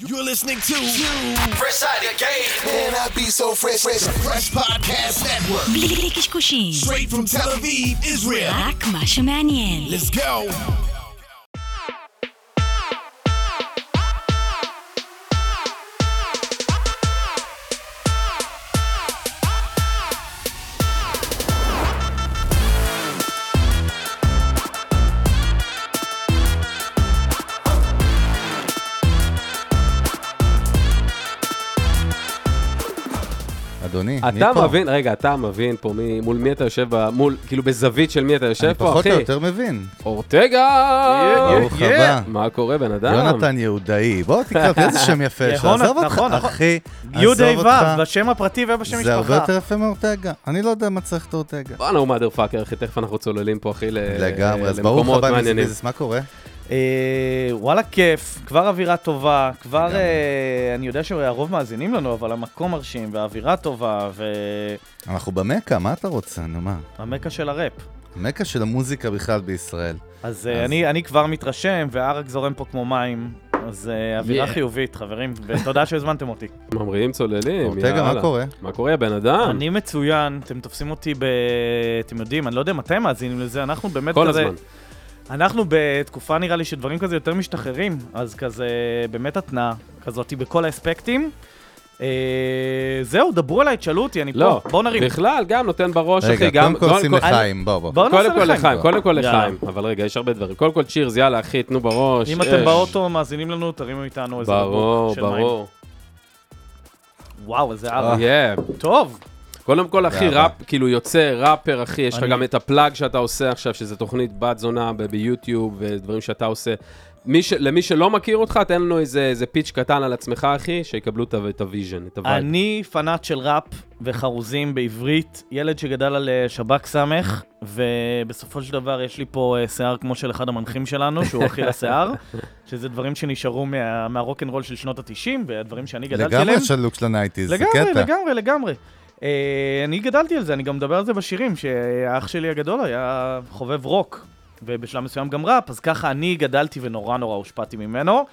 You're listening to Fresh Out of Game. Man, I be so fresh, fresh, Fresh Podcast Network. בלי קשקושים, Straight from Tel Aviv, Israel. רק מה שמעניין. Let's go. אדוני, מי אתה פה? מבין, רגע, אתה מבין פה מי, מול מי אתה יושב, ב- מול, כאילו בזווית של מי אתה יושב אני פה, פחות אחי? או יותר מבין. אורטגה! ברוך הבא. מה קורה, בן אדם? יונתן יהודאי, בוא תקרא, איזה שם יפה יש לך, ירון, עזוב אותך, נכון, נכון. אחי, יהודה עזוב ו', אותך. בשם הפרטי ובשם זה הרבה משפחה. יותר יפה מאורטגה. אני לא יודע מה צריך את אורטגה. בואנה, הוא מאדר פאקר, אחי, תכף אנחנו צוללים פה, אחי, ל- לגמרי, אז ברוך אה, למקומות הבא מעניינים. מזביזס, מה קורה? אה, וואלה, כיף, כבר אווירה טובה, כבר אה, אני יודע שהרוב מאזינים לנו, אבל המקום מרשים, והאווירה טובה, אנחנו במכה, מה אתה רוצה, נו מה? והמקה של הראפ. המכה של המוזיקה בכלל בישראל. לא, אז אה, אני אני כבר מתרשם, והערק זורם פה כמו מים. אז אה, אווירה Yeah. חיובית, חברים, ותודה שהזמנתם אותי. ממריאים, צוללים, אורטגה, מה קורה? מה קורה, בן אדם? אני מצוין, אתם תופסים אותי ב... אתם יודעים, אני לא יודע מתי מאזינים לזה, אנחנו באמת כל כזה... הזמן. אנחנו בתקופה נראה לי שדברים כזה יותר משתחררים, אז כזה באמת התנעה כזאתי בכל האספקטים. אה, זהו, דברו אליי, תשאלו אותי, אני לא, פה, בואו נרים. בכלל, גם נותן בראש, אחי, רגע, גם... קודם כל קודם שים כל- לחיים, בוא בוא. בואו נעשה קודם כל לא לחיים. לחיים, קודם כל יאללה. לחיים, אבל רגע, יש הרבה דברים. קודם כל צ'ירס, יאללה, אחי, תנו בראש. אם אש. אתם באוטו, מאזינים לנו, תרימו איתנו איזה ברור, בקבוק של מים. ברור. אה. וואו, איזה אבא. אה. Yeah. טוב, קודם כל, אחי, יאללה. ראפ, כאילו יוצא ראפר, אחי, יש לך אני- גם את הפלאג שאתה עושה עכשיו, שזה תוכנית בת זונה ב- ביוטיוב, ודברים שאתה עושה. מי ש... למי שלא מכיר אותך, תן לנו איזה, איזה פיץ' קטן על עצמך, אחי, שיקבלו את ה- את הוויז'ן, את הווייב. אני פנאט של ראפ וחרוזים בעברית, ילד שגדל על אה, שב"כ סמך, ובסופו של דבר יש לי פה אה, שיער כמו של אחד המנחים שלנו, שהוא אכיל השיער, שזה דברים שנשארו מה- מהרוקנרול של שנות ה-90, והדברים שאני גדלתי לגמרי עליהם. יש הלוק של הנייטיז, זה לגמרי, קטע. לגמרי, לגמרי. אה, אני גדלתי על זה, אני גם מדבר על זה בשירים, שהאח שלי הגדול היה חובב רוק, ובשלב מסוים גם ראפ, אז ככה אני גדלתי ונורא נורא הושפעתי ממנו,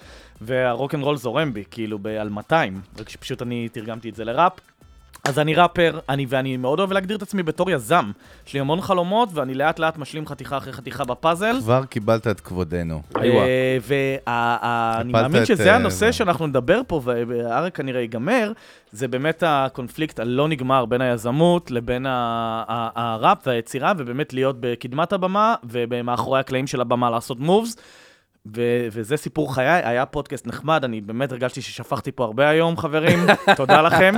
והרוקנרול זורם בי, כאילו, ב- על 200, רק שפשוט אני תרגמתי את זה לראפ. אז אני ראפר, אני, ואני מאוד אוהב להגדיר את עצמי בתור יזם. יש לי המון חלומות, ואני לאט לאט משלים חתיכה אחרי חתיכה בפאזל. כבר קיבלת את כבודנו. איווה. אה, ואני הפלת מאמין את, שזה אה, הנושא זה. שאנחנו נדבר פה, והארק כנראה ייגמר, זה באמת הקונפליקט הלא נגמר בין היזמות לבין ה- ה- הראפ והיצירה, ובאמת להיות בקדמת הבמה, ומאחורי הקלעים של הבמה לעשות מובס. ו- וזה סיפור חיי, היה פודקאסט נחמד, אני באמת הרגשתי ששפכתי פה הרבה היום, חברים, תודה לכם.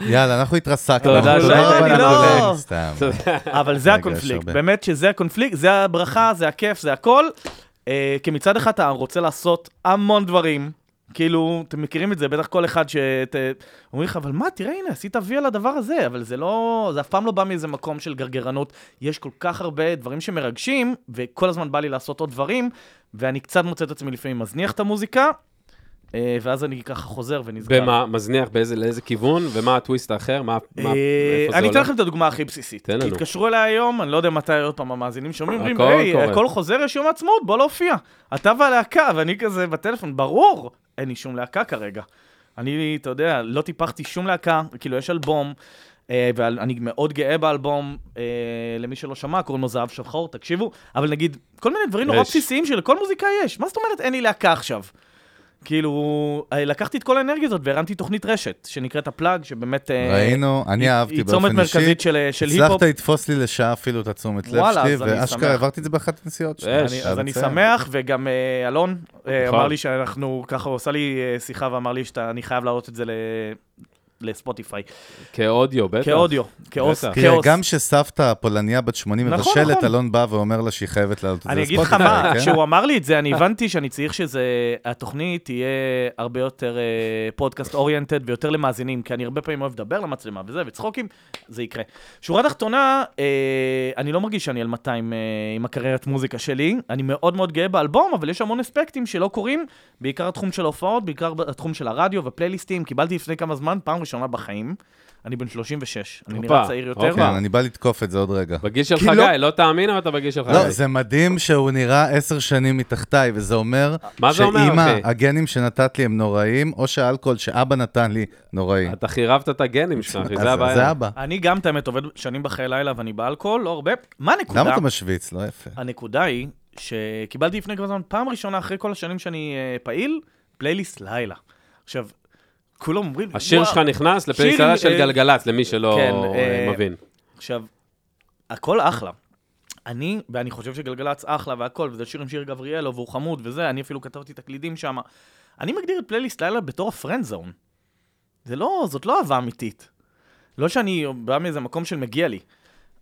יאללה, אנחנו התרסקנו. תודה, לא, רבה אני לכולם. לא. סתם. אבל זה רגע, יש הקונפליקט, הרבה. באמת שזה הקונפליקט, זה הברכה, זה הכיף, זה הכל. אה, כי מצד אחד אתה רוצה לעשות המון דברים, כאילו, אתם מכירים את זה, בטח כל אחד שאת... אה, אומרים לך, אבל מה, תראה, הנה, עשית וי על הדבר הזה, אבל זה לא... זה אף פעם לא בא מאיזה מקום של גרגרנות. יש כל כך הרבה דברים שמרגשים, וכל הזמן בא לי לעשות עוד דברים, ואני קצת מוצא את עצמי לפעמים מזניח את המוזיקה, אה, ואז אני ככה חוזר ונזכר. במה, מזניח, באיזה, לאיזה כיוון, ומה הטוויסט האחר, מה, מה אה, איפה זה אני אתן הולך? לכם את הדוגמה הכי בסיסית. תן כי לנו. התקשרו אליי היום, אני לא יודע מתי עוד פעם המאזינים שומעים, אומרים, הכל היי, קורה." הכל חוזר, יש יום העצמאות, בוא להופיע. אתה והלהקה, ואני כזה בטלפון, ברור, אין לי שום להקה כרגע. אני, אתה יודע, לא טיפחתי שום להקה, כאילו, יש אלבום, אה, ואני מאוד גאה באלבום, אה, למי שלא שמע, קוראים לו זהב שחור, תקשיבו, אבל נגיד, כל מיני דברים נורא יש. בסיסיים שלכל מוזיקאי יש. מה זאת אומרת אין לי להקה עכשיו? כאילו, אה, לקחתי את כל האנרגיה הזאת והרמתי תוכנית רשת, שנקראת הפלאג, שבאמת... אה, ראינו, אני היא- אהבתי היא באופן אישי. צומת מרכזית של- אה, של היפ-הופ. הצלחת לתפוס לי לשעה אפילו את התשומת לב וואלה, שלי, אז אני ואשכרה שמח. העברתי את זה באחת הנסיעות שלי. אה, אני- חייב אז אני לציין. שמח, וגם אה, אלון אה, נכון. אמר לי שאנחנו, ככה הוא עשה לי אה, שיחה ואמר לי שאני חייב להעלות את זה ל- לספוטיפיי. כאודיו, בטח. כאודיו, כאוס, בטח. תראה, כאוס. גם שסבתא הפולניה בת 80 נכון, מבשלת, נכון. אלון בא ואומר לה שהיא חייבת לעלות את זה אני אגיד לך לספוטיפיי, מה, כן? כשהוא אמר לי את זה, אני הבנתי שאני צריך שזה, התוכנית תהיה הרבה יותר אה, פודקאסט אוריינטד ויותר למאזינים, כי אני הרבה פעמים אוהב לדבר למצלמה וזה, וצחוקים, זה יקרה. שורה תחתונה, אה, אני לא מרגיש שאני על 200 אה, עם הקריירת מוזיקה שלי, אני מאוד מאוד גאה באלבום, אבל יש המון אספקטים שלא קורים, בעיקר התחום של ההופעות, בעיקר התחום של הרדיו ופלייליסטים, קיבלתי לפני כמה זמן, פעם ראשונה בחיים. אני בן 36, אני הופה, נראה צעיר יותר. אוקיי. כן, אני בא לתקוף את זה עוד רגע. בגיל של כי לא- חגי, לא תאמין, אבל אתה בגיל של לא, חגי. זה מדהים שהוא נראה עשר שנים מתחתיי, וזה אומר... מה זה אומר, שאימא, אחי? הגנים שנתת לי הם נוראים, או שהאלכוהול שאבא נתן לי נוראי. אתה חירבת את הגנים שלך, אחי, אז- זה זה הבעיה. אבא. אני גם, את האמת, עובד שנים בחיי לילה ואני באלכוהול, לא הרבה. מה הנקודה? למה אתה משוויץ? לא יפה. הנקודה היא שקיבלתי לפני כמה זמן, פעם ראשונה אחרי כל השנים שאני אה, פעיל, פלייליסט לילה. עכשיו, כולם אומרים... לי, השיר "וואו". שלך נכנס לפרק שיר, סלה של אה, גלגלצ, למי שלא כן, אה, אה, מבין. עכשיו, הכל אחלה. אני, ואני חושב שגלגלצ אחלה והכל, וזה שיר עם שיר גבריאלו, והוא חמוד וזה, אני אפילו כתבתי תקלידים שם. אני מגדיר את פלייליסט לילה בתור הפרנד זון. זה לא, זאת לא אהבה אמיתית. לא שאני בא מאיזה מקום של מגיע לי.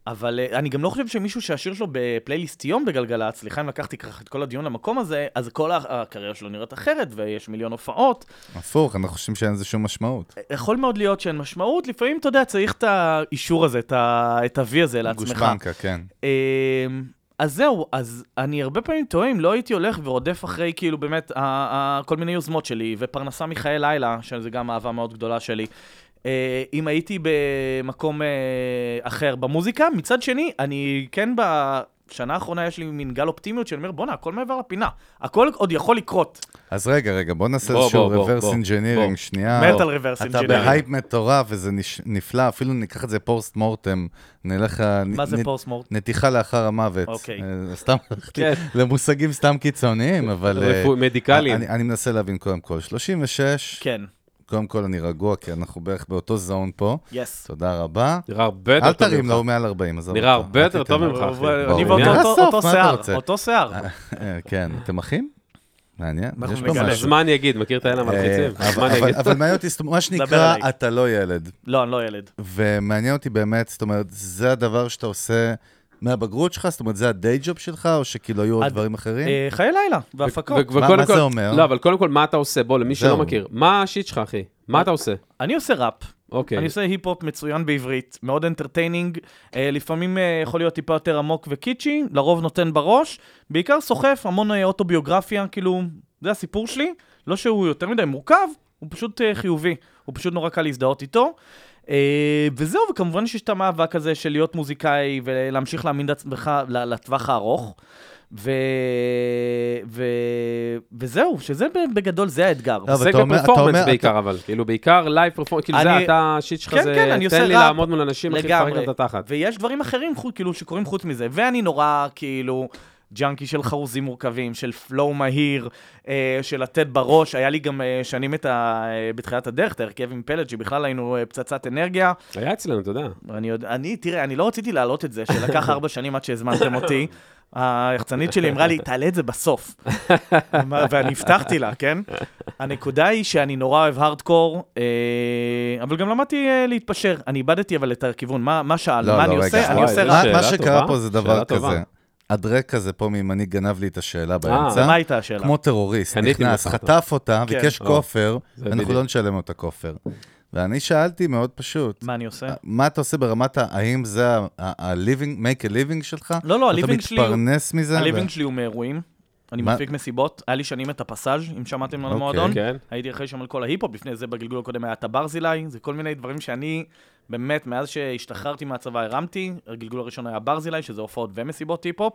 אבל אה, אני גם לא חושב שמישהו שהשיר שלו בפלייליסט יום בגלגלצ, סליחה אם לקחתי ככה את כל הדיון למקום הזה, אז כל ה- הקריירה שלו נראית אחרת, ויש מיליון הופעות. הפוך, אנחנו חושבים שאין לזה שום משמעות. יכול מאוד להיות שאין משמעות, לפעמים, אתה יודע, צריך את האישור הזה, את ה- את ה-V הזה לעצמך. גושפנקה, כן. אמ, אז זהו, אז אני הרבה פעמים טועה אם לא הייתי הולך ורודף אחרי כאילו באמת ה- ה- כל מיני יוזמות שלי, ופרנסה מחיי לילה, שזה גם אהבה מאוד גדולה שלי. אה, אם הייתי במקום אה, אחר במוזיקה, מצד שני, אני כן בשנה האחרונה יש לי מין גל אופטימיות שאני אומר, בואנה, הכל מעבר לפינה, הכל עוד יכול לקרות. אז רגע, רגע, בוא נעשה בוא, איזשהו בוא, בוא, reverse בוא, בוא. engineering, שנייה. מת על reverse אה, אתה engineering. בהייפ מטורף, וזה נש- נפלא, אפילו ניקח את זה פורסט מורטם, נלך... ה- מה זה נ- פורס מורט? נתיחה לאחר המוות. אוקיי. אה, סתם, הלכתי כן. למושגים סתם קיצוניים, אבל... אה, רפואי- מדיקליים. אני- אני מנסה להבין קודם כל. 36, כן, קודם כל אני רגוע, כי אנחנו בערך באותו זון פה. יס. תודה רבה. נראה הרבה יותר אל טוב תרים לא, ממך. לו, הוא מעל 40, עזוב נראה אותו. הרבה אל יותר תיתן טוב לו. ממך, אחי. אני ברור. ואותו נראה אותו- סוף, אותו מה אתה שיער, רוצה? אותו שיער. אה, כן, אתם אחים? מעניין, אנחנו יש פה נגלה. משהו. הזמן יגיד, מכיר את האלה אה, המלחיצים? הזמן אבל- יגיד. אבל- אבל מעניין אותי, זאת אומרת, מה דבר שנקרא, אליי. אתה לא ילד. לא, אני לא ילד. ומעניין אותי באמת, זאת אומרת, זה הדבר שאתה עושה מהבגרות שלך? זאת אומרת, זה הדיי ג'וב שלך, או שכאילו היו עוד עד- דברים אחרים? אה, חיי לילה, והפקות. ו- מה- וקודם מה זה כל- אומר? לא, אבל קודם כל, מה אתה עושה? בוא, למי שלא זהו. מכיר. מה השיט שלך, אחי? מה אתה עושה? אני עושה ראפ. אוקיי. אני עושה היפ-הופ מצוין בעברית, מאוד אנטרטיינינג, אה, לפעמים אה, יכול להיות טיפה יותר עמוק וקיצ'י, לרוב נותן בראש, בעיקר סוחף, המון אה, אוטוביוגרפיה, כאילו, זה הסיפור שלי, לא שהוא יותר מדי מורכב, הוא פשוט אה, חיובי, הוא פשוט נורא קל להזדהות איתו. אה, וזהו, וכמובן שיש את המאבק הזה של להיות מוזיקאי ולהמשיך להאמין לעצמך ל- לטווח הארוך. ו... ו... וזהו, שזה ב- בגדול, זה האתגר. לא, אבל עוסק אתה אומר- אתה בפרפורמנס אומר- בעיקר, אבל. כאילו, בעיקר לייב פרפורמנס. כאילו, זה אני- אתה, השיט שלך כן, זה... כן, אני תן עושה לי ראפ. לעמוד מול אנשים, אחי, לפרק להם לגמרי. את התחת. ויש דברים אחרים חו- כאילו שקורים חוץ מזה, ואני נורא כאילו ג'אנקי של חרוזים מורכבים, של פלואו מהיר, אה, של לתת בראש, היה לי גם אה, שנים את ה... אה, בתחילת הדרך, את ההרכב עם פלט, שבכלל היינו אה, פצצת אנרגיה. היה אצלנו, אתה יודע. אני יודע, אני, תראה, אני לא רציתי להעלות את זה, שלקח ארבע שנים עד שהזמנתם אותי. היחצנית שלי אמרה לי, תעלה את זה בסוף. ואני הבטחתי לה, כן? הנקודה היא שאני נורא אוהב הארדקור, אה, אבל גם למדתי אה, להתפשר. אני איבדתי אבל את הכיוון, מה מה שאל, לא, מה אני לא, רגע, עושה? אני וואי, עושה זה רק... מה- שאלה מה שקרה טובה, פה זה שאלה דבר טובה. כזה. הדרק הזה פה מימני גנב לי את השאלה מה באמצע. אה, הייתה השאלה? כמו טרוריסט, קניתי נכנס, ממך. חטף אותה, כן. ביקש או. כופר, זה ואנחנו בדיוק. לא נשלם אותה כופר. ואני שאלתי מאוד פשוט, מה אני עושה? מה אתה עושה ברמת ה... האם זה ה-living, make a living שלך? לא, לא, הליבינג שלי אתה הוא- מתפרנס מזה? הליבינג שלי הוא מאירועים. אני מה- מפיק מסיבות, היה לי שנים את הפסאז', אם שמעתם על אוקיי. המועדון. כן. הייתי אחרי שם על כל ההיפ-הופ, לפני זה בגלגול הקודם היה את הברזילי, זה כל מיני דברים שאני, באמת, מאז שהשתחררתי מהצבא הרמתי, הגלגול הראשון היה ברזילי, שזה הופעות ומסיבות היפ-הופ.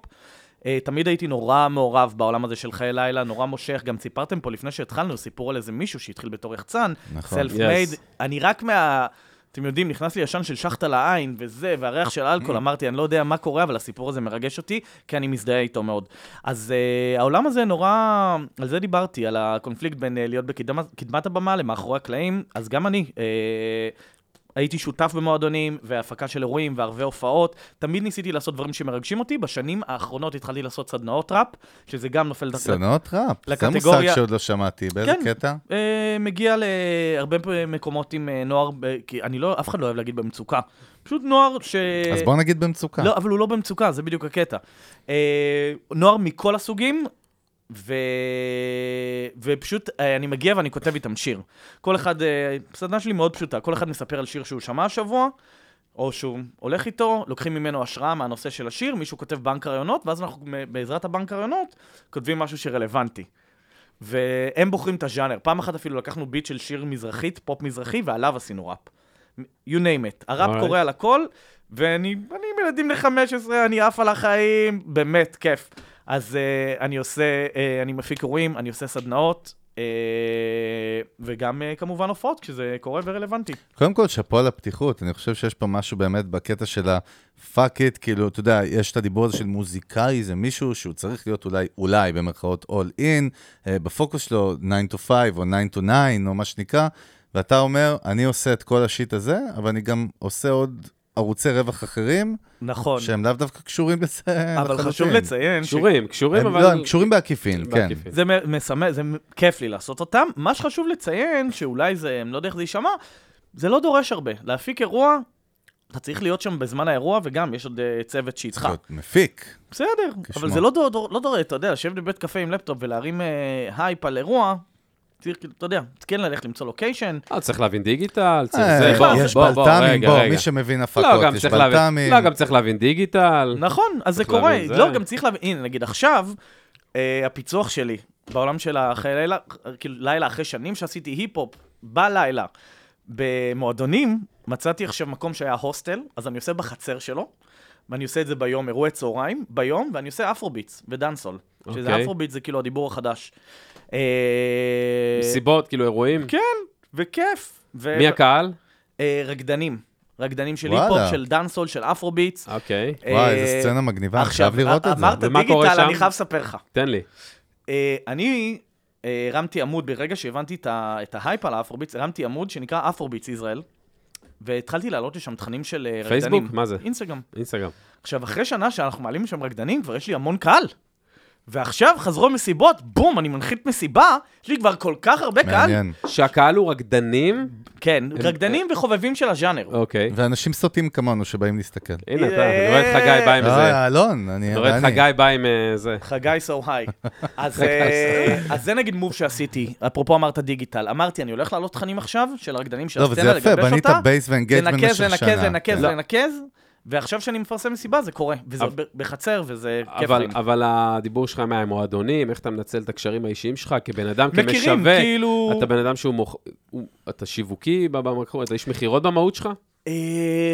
אה, תמיד הייתי נורא מעורב בעולם הזה של חיי לילה, נורא מושך. גם סיפרתם פה לפני שהתחלנו סיפור על איזה מישהו שהתחיל בתור יחצן, נכון. סלף מייד. Yes. אני רק מה... אתם יודעים, נכנס לי עשן של שחטה לעין וזה, והריח של אלכוהול, אמרתי, אני לא יודע מה קורה, אבל הסיפור הזה מרגש אותי, כי אני מזדהה איתו מאוד. אז uh, העולם הזה נורא, על זה דיברתי, על הקונפליקט בין uh, להיות בקדמת קדמת הבמה למאחורי הקלעים, אז גם אני. Uh, הייתי שותף במועדונים, והפקה של אירועים, והרבה הופעות. תמיד ניסיתי לעשות דברים שמרגשים אותי. בשנים האחרונות התחלתי לעשות סדנאות ראפ, שזה גם נופל... סצנות ראפ, זה מושג לקטגוריה- שעוד לא שמעתי, באיזה כן. קטע? אה, מגיע להרבה פ- מקומות עם אה, נוער, ב- כי אני לא, אף אחד לא אוהב להגיד במצוקה. פשוט נוער ש... אז בוא נגיד במצוקה. אה, לא, אבל הוא לא במצוקה, זה בדיוק הקטע. אה, נוער מכל הסוגים, ו... ופשוט אה, אני מגיע ואני כותב איתם שיר. כל אחד, אה, סדנה שלי מאוד פשוטה, כל אחד מספר על שיר שהוא שמע השבוע, או שהוא הולך איתו, לוקחים ממנו השראה מהנושא של השיר, מישהו כותב בנק הרעיונות, ואז אנחנו מ- בעזרת הבנק הרעיונות כותבים משהו שרלוונטי. והם בוחרים את הז'אנר. פעם אחת אפילו לקחנו ביט של שיר מזרחית, פופ מזרחי, ועליו עשינו ראפ. you name it. הראפ Alright. קורא על הכל, ואני אני עם ילדים ל-15, אני עף על החיים, באמת, כיף. אז uh, אני עושה, uh, אני מפיק אירועים, אני עושה סדנאות, uh, וגם uh, כמובן הופעות, כשזה קורה ורלוונטי. קודם כל, שאפו על הפתיחות, אני חושב שיש פה משהו באמת בקטע של ה-fuck it, כאילו, אתה יודע, יש את הדיבור הזה של מוזיקאי, זה מישהו שהוא צריך להיות אולי, אולי, במרכאות all in, אה, בפוקוס שלו 9 to 5 או 9 to 9 או מה שנקרא, ואתה אומר, אני עושה את כל השיט הזה, אבל אני גם עושה עוד ערוצי רווח אחרים, נכון. שהם לאו דווקא קשורים לזה אבל חשוב לחלוטין. לציין, ש- קשורים, קשורים, הם, אבל... לא, הם קשורים בעקיפין, כן. בעקיפין. זה מ- משמח, זה מ- כיף לי לעשות אותם. מה שחשוב לציין, שאולי זה, אני לא יודע איך זה יישמע, זה לא דורש הרבה. להפיק אירוע, אתה צריך להיות שם בזמן האירוע, וגם יש עוד אה, צוות צריך שאיתך. להיות מפיק. בסדר, כשמו. אבל זה לא דורש, לא דור, אתה יודע, לשבת בבית קפה עם לפטופ ולהרים אה, הייפ על אירוע, צריך, כאילו, אתה יודע, כן ללכת למצוא לוקיישן. אה, צריך להבין דיגיטל, צריך אה, זה, בוא, יש בוא, בוא, בלת"מים, רגע, בוא, רגע. מי שמבין לא, הפקות, גם יש צריך להבין, בלת"מים. לא, גם צריך להבין דיגיטל. נכון, אז זה צריך קורה. להבין, זה- לא, גם צריך להבין, הנה, נגיד עכשיו, אה, הפיצוח שלי בעולם של החיי לילה, כאילו לילה אחרי שנים שעשיתי היפ-הופ, בלילה, במועדונים, מצאתי עכשיו מקום שהיה הוסטל, אז אני עושה בחצר שלו, ואני עושה את זה ביום, אירועי צהריים, ביום, ואני עושה אפרוביטס ודנסול. שזה אוקיי. אפרוביט זה כאילו הדיבור החדש. אה, סיבות, כאילו אירועים. כן, וכיף. ו- מי הקהל? אה, רקדנים. רקדנים של וואלה. היפ-הופ, של דאנסול, של אפרוביטס. אוקיי, וואי, אה, איזה סצנה מגניבה, אני עכשיו, חייב לראות אה, א- את זה. אמרת ומה קורה דיגיטל, שם? אני חייב לספר לך. תן לי. אה, אני אה, הרמתי עמוד, ברגע שהבנתי את ה- את ההייפ על האפרוביטס, הרמתי עמוד שנקרא אפרוביטס ישראל, והתחלתי להעלות לשם תכנים של אה, רקדנים. פייסבוק? מה זה? אינסטגרם. אינסטגרם. עכשיו, אחרי שנה שאנחנו מעלים לשם רקדנים, כבר יש לי המון קהל. ועכשיו חזרו מסיבות, בום, אני מנחית מסיבה, יש לי כבר כל כך הרבה קהל. מעניין. שהקהל הוא רקדנים? כן, אה, רקדנים וחובבים של הז'אנר. אוקיי. ואנשים סוטים כמונו שבאים להסתכל. הנה, אה. אתה, אני רואה את חגי בא עם איזה... אה, אלון, אני... אני כן, רואה את אני. חגי בא עם אה, זה. חגי סו היי. אז אה, אז זה נגיד מוב שעשיתי, אפרופו אמרת דיגיטל. אמרתי, אני הולך לעלות תכנים עכשיו של הרקדנים של לא, אבל הסצנה, זה לגבש יפה, אותה. בנית בייס ואנגייג'מנט במשך לנקז, שנה. לנקז, לנקז, לא. לנקז, ועכשיו שאני מפרסם מסיבה זה קורה, וזה אבל- ב- בחצר וזה כיף אבל, לי. אבל הדיבור שלך מהמועדונים, איך אתה מנצל את הקשרים האישיים שלך כבן אדם, כמשווק. מכירים, כאילו... אתה בן אדם שהוא מוכ... הוא... אתה שיווקי במקום, אתה איש מכירות במהות שלך? אה,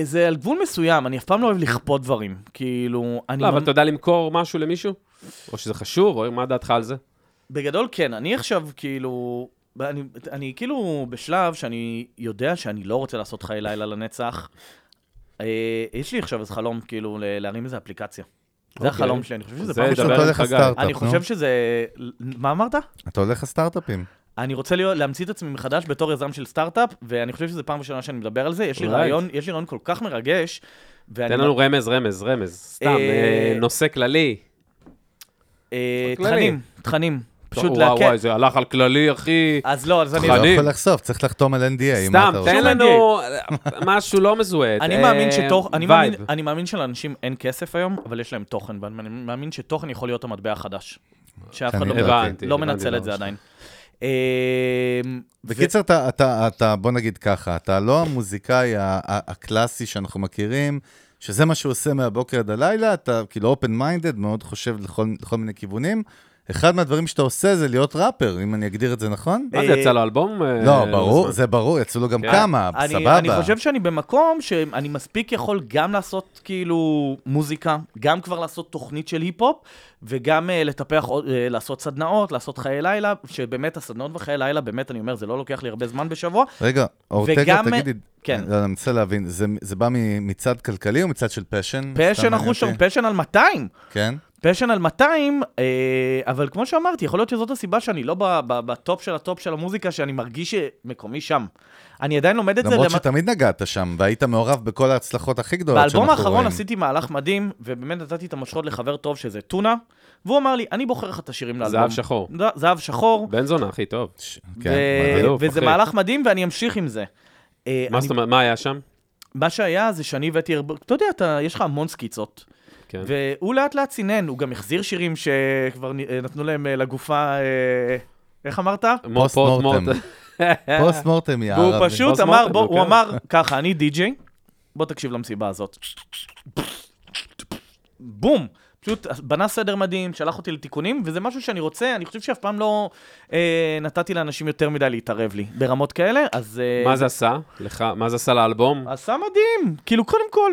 זה על גבול מסוים, אני אף פעם לא אוהב לכפות דברים. כאילו, אני... לא, ממ- אבל אתה יודע למכור משהו למישהו? או שזה חשוב, או מה דעתך על זה? בגדול כן, אני עכשיו כאילו... אני, אני כאילו בשלב שאני יודע שאני לא רוצה לעשות חיי לילה לנצח. אה, יש לי עכשיו איזה חלום, כאילו, ל- להרים איזה אפליקציה. זה אוקיי. החלום שלי, אני חושב שזה זה פעם פשוט דבר עם ראשונה. אתה הולך חגי. לסטארט-אפ, אני נו. חושב שזה... מה אמרת? אתה הולך לסטארט-אפים. אני רוצה להיות, להמציא את עצמי מחדש בתור יזם של סטארט-אפ, ואני חושב שזו פעם ראשונה שאני מדבר על זה. יש לי Right. רעיון, יש לי רעיון כל כך מרגש. ואני- תן לנו רמז, רמז, רמז. סתם, לא- אה, אה, נושא כללי. אה, כללי. תכנים, תכנים. פשוט וואי, להקל. וואי, זה הלך על כללי, אחי. אז לא, אז אני... אתה לא תכנים. יכול לחשוף, צריך לחתום על NDA. מה סתם, אתה רוצה? תן לנו משהו לא מזוהה. אני אה, מאמין שתוך... אני מאמין- וייב. אני מאמין שלאנשים אין כסף היום, אבל יש להם תוכן, ואני מאמין שתוכן יכול להיות המטבע החדש. שאף אחד אני לא- הבנתי, לא הבנתי, מנצל את הבנתי. זה עדיין. אמ, בקיצר, אתה, אתה, אתה, בוא נגיד ככה, אתה לא המוזיקאי ה- ה- הקלאסי שאנחנו מכירים, שזה מה שהוא עושה מהבוקר עד הלילה, אתה כאילו open minded, מאוד חושב לכל, לכל מיני כיוונים. אחד מהדברים שאתה עושה זה להיות ראפר, אם אני אגדיר את זה נכון. מה זה, יצא לו אלבום? אה, לא, ברור, זמן? זה ברור, יצאו לו גם כן. כמה, אני, סבבה. אני חושב שאני במקום שאני מספיק יכול גם לעשות כאילו מוזיקה, גם כבר לעשות תוכנית של היפ-הופ, וגם uh, לטפח, uh, לעשות סדנאות, לעשות חיי לילה, שבאמת הסדנאות וחיי לילה, באמת, אני אומר, זה לא לוקח לי הרבה זמן בשבוע. רגע, אורטגה, וגם- תגידי, כן. לא, אני מנסה להבין, זה, זה בא מ- מצד כלכלי או מצד של פשן? פשן אחוז שם, פשן על 200. כן? פשן על 200, אה, אבל כמו שאמרתי, יכול להיות שזאת הסיבה שאני לא ב- ב- בטופ של הטופ של המוזיקה, שאני מרגיש שמקומי שם. אני עדיין לומד את זה. למרות למ- שתמיד נגעת שם, והיית מעורב בכל ההצלחות הכי גדולות שאנחנו באלבום רואים. האחרון עשיתי מהלך מדהים, ובאמת נתתי את המושכות לחבר טוב שזה טונה, והוא אמר לי, אני בוחר לך את השירים לאלבום. זהב שחור. ז- זהב שחור, בן זונה, אחי, טוב. ש- ו- כן, מדהים. בדיוק, וזה אחי. מהלך מדהים ואני אמשיך עם זה. אה, לא, מה אני- זאת אומרת, מה היה שם? מה שהיה זה שאני הבאתי, הרבה- אתה יודע, אתה- יש לך המון סקיצות, כן. והוא לאט לאט סינן, הוא גם החזיר שירים שכבר נ- אה, נתנו להם אה, לגופה, אה, איך אמרת? מור- פוסט פוסט מורטם. מורטם. פוסט מורטם, יא והוא ערבי. פשוט בוס אמר, מורטן, בוא- אוקיי. הוא אמר ככה, אני די-ג'יי, בוא תקשיב למסיבה הזאת. בום, פשוט בנה סדר מדהים, שלח אותי לתיקונים, וזה משהו שאני רוצה, אני חושב שאף פעם לא אה, נתתי לאנשים יותר מדי להתערב לי ברמות כאלה, אז... אה, מה זה עשה? לך, מה זה עשה לאלבום? עשה מדהים. כאילו, קודם כל,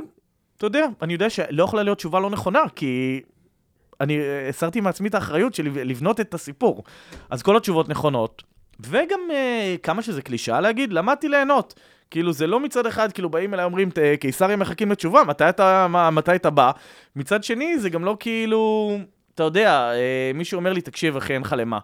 אתה יודע, אני יודע שלא יכולה להיות תשובה לא נכונה, כי אני אה, הסרתי מעצמי את האחריות שלי לבנות את הסיפור. אז כל התשובות נכונות. וגם אה, כמה שזה קלישאה להגיד, למדתי ליהנות. כאילו, זה לא מצד אחד, כאילו, באים אליי, אומרים, "ת- קיסריה מחכים לתשובה, מתי אתה, מה, מתי אתה בא? מצד שני, זה גם לא כאילו, אתה יודע, אה, מישהו אומר לי, תקשיב, אחי, אין לך למה.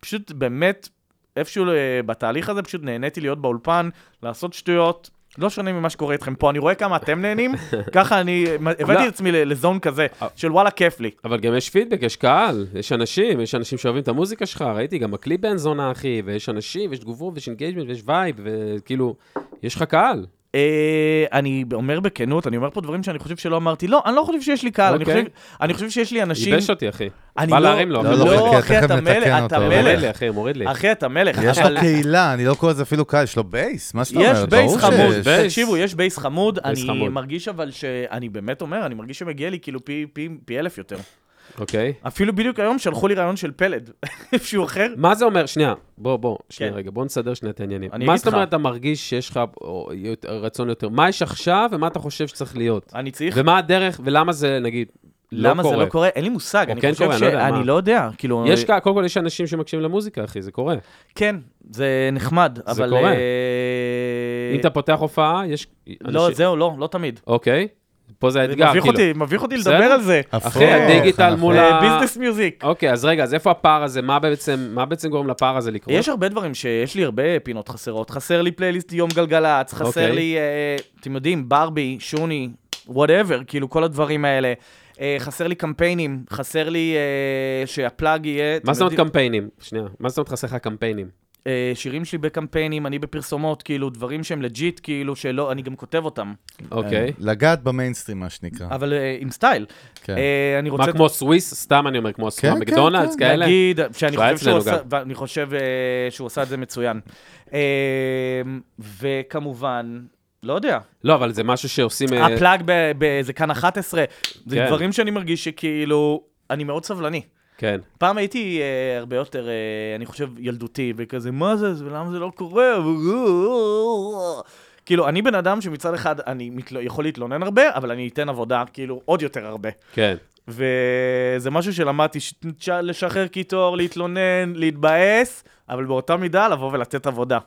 פשוט באמת, איפשהו אה, בתהליך הזה, פשוט נהניתי להיות באולפן, לעשות שטויות. לא שונה ממה שקורה איתכם פה, אני רואה כמה אתם נהנים, ככה אני הבאתי את עצמי ל- לזון כזה, של וואלה, כיף לי. אבל גם יש פידבק, יש קהל, יש אנשים, יש אנשים שאוהבים את המוזיקה שלך, ראיתי גם הקליפ בן זונה, אחי, ויש אנשים, ויש תגובות, ויש אינגייג'מנט, ויש וייב, וכאילו, יש לך קהל. אה, אני אומר בכנות, אני אומר פה דברים שאני חושב שלא אמרתי. לא, אני לא חושב שיש לי קהל, אני אוקיי. חושב- אני חושב שיש לי אנשים... ייבש אותי, אחי. אני בא לא- להרים לו, לא, אחי, מוריד לא, לי. כן, אחי, תכף אתה נתקן מלך, אתה אותו, אבל- מוריד לי, מלך. אחי, מוריד לי. אחי, אתה מלך. יש אבל- לו קהילה, אני לא קורא לזה אפילו קהל, יש לו בייס, מה שאתה אומר, יש בייס ברור חמוד, שיש. בייס. תקשיבו, יש בייס חמוד, אני חמוד. מרגיש אבל ש... אני באמת אומר, אני מרגיש שמגיע לי כאילו פי- פי- פי אלף יותר. אוקיי. אפילו בדיוק היום שלחו לי רעיון של פלד, איפשהו אחר. מה זה אומר? שנייה, בוא, בוא, שנייה כן. רגע, בוא נסדר שנייה את העניינים. אני מה אגיד זאת אומרת לך. אתה מרגיש שיש לך או, יותר- רצון יותר? מה יש עכשיו ומה אתה חושב שצריך להיות? אני צריך... ומה הדרך ולמה זה, נגיד, לא למה זה קורה? לא קורה? אין לי מושג, או אני כן חושב קורה, אני לא יודע, מה? שאני לא יודע, כאילו... יש קהל, קודם כל יש אנשים שמקשיבים למוזיקה, אחי, זה קורה. כן, זה נחמד, אבל... קורה. אה, אם אתה פותח הופעה, יש... לא, אנשים- זהו, לא, לא תמיד. אוקיי, פה זה זה האתגר, מביך כאילו. אותי, מביך אותי לדבר בסדר. על זה. הפוך, אחי, הדיגיטל אנחנו- מול ה... אה, ביזנס מיוזיק. אוקיי, אז רגע, אז איפה הפער הזה? מה בעצם, מה בעצם גורם לפער הזה לקרות? יש הרבה דברים שיש לי הרבה פינות חסרות. חסר לי פלייליסט יום גלגלצ, חסר אוקיי. לי, אה, אתם יודעים, ברבי, שוני, וואטאבר, כאילו כל הדברים האלה. אה, חסר לי קמפיינים, חסר לי אה, שהפלאג יהיה... אתם מה זאת אומרת יודעים, קמפיינים? שנייה, מה זאת אומרת חסר לך קמפיינים? אה, שירים שלי בקמפיינים, אני בפרסומות, כאילו, דברים שהם לג'יט, כאילו, שלא, אני גם כותב אותם. אוקיי. לגעת במיינסטרים, מה שנקרא. אבל אה, עם סטייל. כן. אה, אני רוצה... מה, כמו סוויס? סתם אני אומר, כמו הסוויס, כן, מקדונלדס כן, כאלה? נגיד, אה, שאני שהיה חושב שהוא אצלנו עשה, ואני חושב אה, שהוא עשה את זה מצוין. אה, וכמובן, לא יודע, לא, אבל זה משהו שעושים... אה, הפלאג ב- ב- זה כאן 11, זה כן. דברים שאני מרגיש שכאילו, אני מאוד סבלני. כן. פעם הייתי אה, הרבה יותר, אה, אני חושב, ילדותי, וכזה, מה זה, זה- ולמה זה לא קורה? כאילו, אני בן אדם שמצד אחד אני מתל... יכול להתלונן הרבה, אבל אני אתן עבודה, כאילו, עוד יותר הרבה. כן. וזה משהו שלמדתי, ש... ש- לשחרר קיטור, להתלונן, להתבאס, אבל באותה מידה לבוא ולתת עבודה.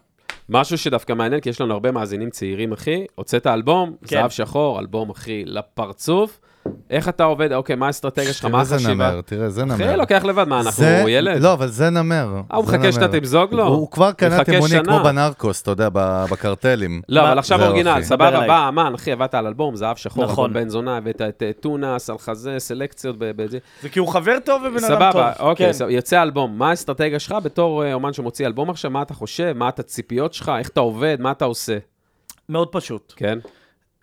משהו שדווקא מעניין, כי יש לנו הרבה מאזינים צעירים, אחי. הוצאת אלבום, כן. זהב שחור, אלבום, אחי, לפרצוף. איך אתה עובד? אוקיי, מה האסטרטגיה שלך? מה תראה, זה החשיבה? נמר, תראה, זה נמר. אחי, לוקח לבד, מה, אנחנו זה- ילד? לא, אבל זה נמר. אה, הוא זה מחכה שאתה נמר. תמזוג לו? הוא כבר קנה מחכה תימוני שנה. כמו בנרקוס, אתה יודע, ב- בקרטלים. לא, מה- אבל עכשיו זהו, אורגינל, אחי. דבר סבבה, אליי. בא אמן, אחי, עבדת על אלבום, זהב שחור, נכון. נכון. בן זונה, הבאת את אה, טונס, על חזה, סלקציות, ב- בזה. זה כי הוא חבר טוב ובן אדם טוב. סבבה, אוקיי, כן. סבבה, יוצא אלבום. מה האסטרטגיה שלך בתור אה, אומן שמוציא אלבום עכשיו? מה אתה חושב? מה את הציפיות שלך? איך אתה עובד? מה אתה עושה? מאוד פשוט. כן?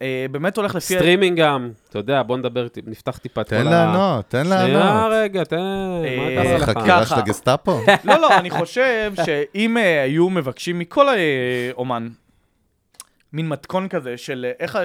אה, באמת הולך לפי... סטרימינג גם, אתה יודע, בוא נדבר, טיפ- נפתח טיפה את כל תן לענות, תן לא. שנייה לענות. רגע, תן, אה, מה מה זה קרה לך? חקירה ככה. של הגסטאפו? לא, לא, אני חושב שאם אה, היו מבקשים מכל האומן, מין מתכון כזה של אה, איך... ה-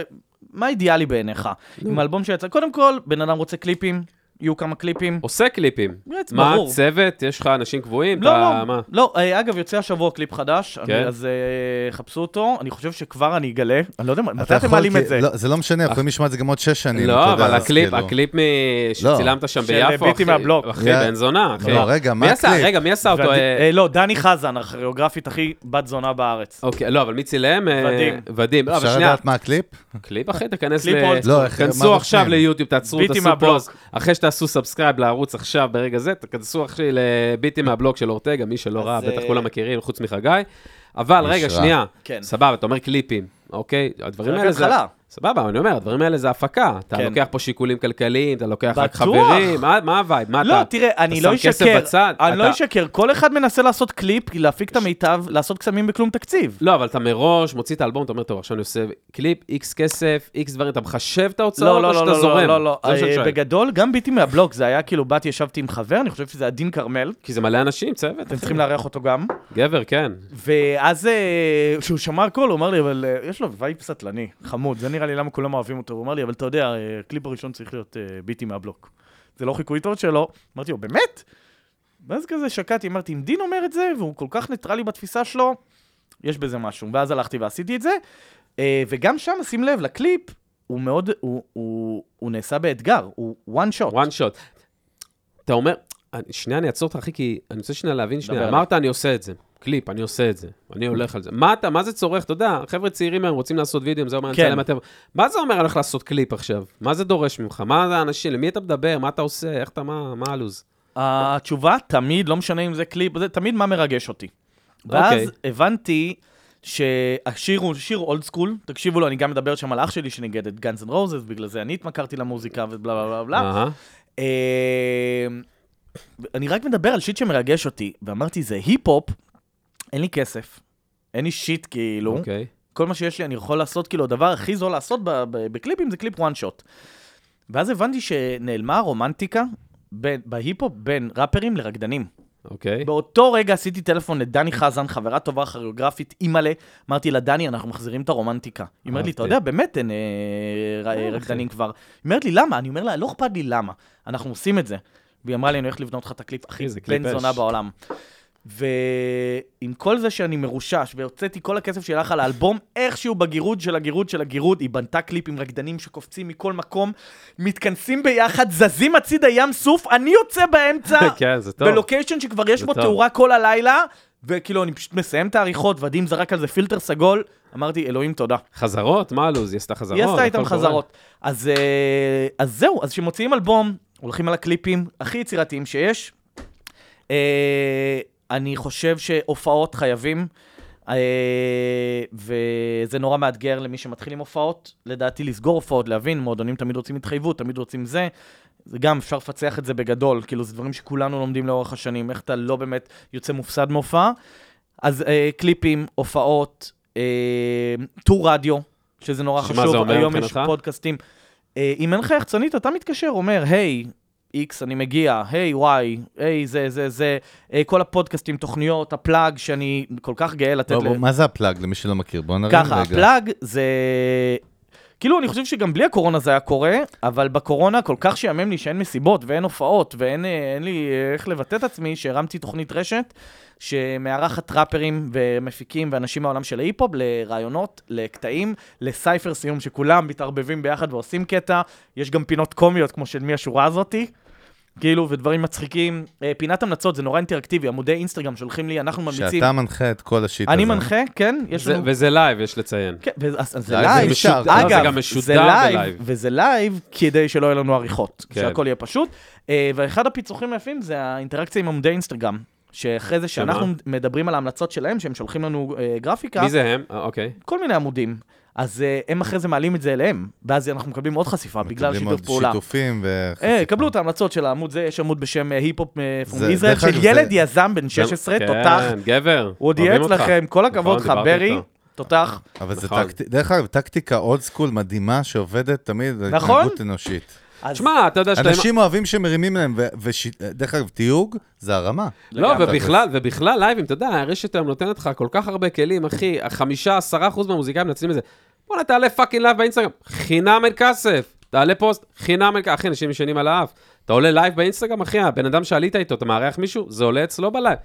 מה אידיאלי בעיניך? עם אלבום שיצא, קודם כל, בן אדם רוצה קליפים, יהיו כמה קליפים. עושה קליפים. בעצם, מה, ברור. צוות? יש לך אנשים קבועים? לא, אתה- לא, מה? לא, אה, אגב, יוצא השבוע קליפ חדש, אני- כן? אז אה, חפשו אותו, אני חושב שכבר אני אגלה, אני לא יודע, אתה מתי אתם יכול, מעלים כי- את זה? לא, זה לא משנה, יכולים לשמוע את זה גם עוד שש שנים. אתה לא, יודע, אבל אז הקליפ, כאילו. הקליפ מ- שצילמת שם של ביפו, ביטי אחי, מהבלוק. אחי, לא. בן זונה, אחי. לא, רגע, מי מה עשה- הקליפ? רגע, מי עשה אותו? ועדי- אה, אה, לא, דני חזן, הכוריאוגרפית הכי בת זונה בארץ. אוקיי, לא, אבל מי צילם? אה, ודים. ודים. לא, אבל אפשר שנייה, לדעת מה הקליפ? קליפ אחי, תיכנס קליפ ל... אולד סקול. לא, איך- תיכנסו מה עכשיו רושמים? ליוטיוב, תעצרו, ביטים תעשו מהבלוק. פלוס. אחרי שתעשו סאבסקרייב לערוץ עכשיו, ברגע זה, תיכנסו אחי לביטים מהבלוק של אורטגה, מי שלא ראה, אז, בטח אה, כולם מכירים, חוץ מחגי. אבל איש רגע, רע. שנייה, כן. סבבה, אתה אומר קליפים, אוקיי? הדברים רק האלה זה... התחלה. סבבה, אני אומר, הדברים האלה זה הפקה. אתה כן. לוקח פה שיקולים כלכליים, אתה לוקח רק בטוח. חברים, מה מה הווייב? מה אתה... לא, תראה, אני אתה לא שם כסף אשקר, בצד, אני לא אתה- אשקר, כל אחד מנסה לעשות קליפ, להפיק את המיטב, לעשות קסמים בכלום תקציב. לא, אבל אתה מראש מוציא את האלבום, אתה אומר, טוב, עכשיו אני עושה קליפ, איקס כסף, איקס דברים, אתה מחשב את לא, ההוצאות או לא, לא, שאתה לא, זורם? לא, לא, לא, זה מה שאני אה, שואל. בגדול, גם ביטי מהבלוק, זה היה כאילו, באתי, ישבתי עם חבר, אני חושב שזה היה דין כרמל, כי זה מלא אנשים, צוות, אתם צריכים לארח אותו גם. גבר, כן. ואז אה, כשהוא שמע הכל, הוא אמר לי, אבל אה, יש לו וייב סטלני, חמוד, זה נראה לי למה כולם אוהבים אותו. הוא אמר לי, אבל אתה יודע, אה, הקליפ הראשון צריך להיות אה, ביטי מהבלוק. זה לא חיקוי טוב שלו. אמרתי לו, באמת? ואז כזה שקעתי, אמרתי, אם דין אומר את זה, והוא כל כך ניטרלי בתפיסה שלו, יש בזה משהו. ואז הלכתי ועשיתי את זה. אה, וגם שם, שים לב, לקליפ, הוא מאוד, הוא, הוא, הוא נעשה באתגר, הוא one shot. one shot. אתה אומר, אני- שנייה, אני אעצור אותך, אחי, כי אני רוצה שנייה להבין שנייה. עליי. אמרת, אני עושה את זה. קליפ, אני עושה את זה. אני הולך על זה. מה אתה, מה זה צורך? אתה יודע, חבר'ה צעירים היום רוצים לעשות וידאו, זה אומר, אני כן. רוצה להם הטבע. מה זה אומר, הולך לעשות קליפ עכשיו? מה זה דורש ממך? מה זה האנשים? למי אתה מדבר? מה אתה עושה? איך אתה, מה מה הלו"ז? התשובה תמיד, לא משנה אם זה קליפ, זה תמיד מה מרגש אותי. ואז אוקיי. הבנתי שהשיר הוא שיר אולד סקול, תקשיבו לו, אני גם מדבר שם על אח שלי שניגד את גאנז אנד רוזס, בגלל זה אני התמכרתי למוזיקה ובלה בלה בלה בלה. אהה. אה, אני רק מדבר על שיט שמרגש אותי, ואמרתי, זה היפ-הופ, אין לי כסף, אין לי שיט כאילו, אוקיי. כל מה שיש לי אני יכול לעשות, כאילו, הדבר הכי זול לעשות ב- ב- בקליפים זה קליפ וואן שוט. ואז הבנתי שנעלמה הרומנטיקה בין- בהיפ-הופ בין ראפרים לרקדנים. אוקיי. כן. באותו רגע עשיתי טלפון לדני חזן, חברה טובה, כוריאוגרפית, אימא'לה. אמרתי לה, דני, אנחנו מחזירים את הרומנטיקה. היא אומרת לי, אתה אהבתי. יודע, באמת אין אה, ר- אה, רקדנים אוקיי. כבר. היא אומרת לי, למה? אני אומר לה, לא אכפת לי למה. אנחנו עושים את זה. והיא אמרה לי, אני הולך לבנות לך את הקליפ הכי איזה קליפ בן זונה אש. בעולם. ועם כל זה שאני מרושש, והוצאתי כל הכסף שהלך על האלבום, איכשהו בגירוד של הגירוד של הגירוד, היא בנתה קליפ עם רקדנים שקופצים מכל מקום, מתכנסים ביחד, זזים הצידה ים סוף, אני יוצא באמצע, כן, זה טוב. בלוקיישן שכבר יש זה בו טוב. תאורה כל הלילה, וכאילו, אני פשוט מסיים את העריכות, ודים זרק על זה פילטר סגול, אמרתי, אלוהים תודה. חזרות? מה הלו"ז? היא עשתה חזרות? היא עשתה איתם נכון, הכל קורה. חזרות. אז, אה, אז זהו, אז כשמוציאים אלבום, הולכים על הקליפים הכי יצירתיים שיש. אה, אני חושב שהופעות חייבים, אה, וזה נורא מאתגר למי שמתחיל עם הופעות, לדעתי לסגור הופעות, להבין, מועדונים תמיד רוצים התחייבות, תמיד רוצים זה. זה גם, אפשר לפצח את זה בגדול, כאילו, זה דברים שכולנו לומדים לאורך השנים, איך אתה לא באמת יוצא מופסד מהופעה. אז אה, קליפים, הופעות, אה, טור רדיו, שזה נורא שמה חשוב, זה אומר היום יש מבחינתך? פודקאסטים. אה, אם אין לך יחצנית, אתה מתקשר, אומר, היי, איקס, אני מגיע, היי, וואי, היי, זה, זה, זה, אה, כל הפודקאסטים, תוכניות, הפלאג, שאני כל כך גאה לתת לא, ל... בוא, מה זה הפלאג, למי שלא מכיר? בוא נרים ככה, רגע. הפלאג זה... כאילו, אני חושב שגם בלי הקורונה זה היה קורה, אבל בקורונה כל כך שיאמם לי שאין מסיבות ואין הופעות ואין אה, אין לי אה, איך לבטא את עצמי, שהרמתי תוכנית רשת שמארחת ראפרים ומפיקים ואנשים מהעולם של ההיפ-הופ לרעיונות, לקטעים, לסייפר סיום שכולם מתערבבים ביחד ועושים קטע. יש גם פינות קומיות כמו של מי השורה הזאתי. כאילו, ודברים מצחיקים. אה, פינת המלצות זה נורא אינטראקטיבי, עמודי אינסטגרם שולחים לי, אנחנו ממליצים. שאתה מנחה את כל השיט הזה. אני מנחה, כן? יש זה- לנו... וזה לייב, יש לציין. כן, ואז- אז זה לייב לייב, זה משודר, אגב, זה גם משודר זה לייב, בלייב. וזה לייב כדי שלא יהיה לנו עריכות, כן. שהכל יהיה פשוט. אה, ואחד הפיצוחים היפים זה האינטראקציה עם עמודי אינסטגרם, שאחרי זה שאנחנו שמה? מדברים על ההמלצות שלהם, שהם שולחים לנו אה, גרפיקה, מי זה הם? אה, אוקיי. כל מיני עמודים. אז אה, הם אחרי זה מעלים את זה אליהם, ואז אנחנו מקבלים עוד חשיפה בגלל מקבלים שיתוף עוד פעולה. שיתופים ו... אה, קבלו את ההמלצות של העמוד זה, יש עמוד בשם אה, היפ-הופ אה, פום זה- ישראל, דרך אגב, של ילד זה- יזם בן 16, תותח, כן, גבר. הוא עוד אוהבים ייעץ אותך. לכם, כל הכבוד לך, נכון, דיברתי ברי, איתו. תותח. אבל זה נכון. טקט... דרך אגב, טקטיקה אולד סקול מדהימה שעובדת תמיד, נכון. התנהגות אנושית. אז- נכון. שמע, אתה יודע שאתה... אנשים אוהבים שמרימים להם, ו- וש- דרך אגב, תיוג זה הרמה. לא, לגמרי. ובכלל, ובכלל לייבים, אתה יודע, הרשת היום נותנת לך כל כך הרבה כלים, אחי, חמישה, עשרה אחוז מהמוזיקאים מנצלים את זה. בוא'נה, תעלה פאקינג לייב באינסטגרם, חינם אין כסף. תעלה פוסט, חינם אין כסף. אחי, אנשים ישנים על האף. אתה עולה לייב באינסטגרם, אחי, הבן אדם שעלית איתו, אתה מארח מישהו, זה עולה אצלו בלייב.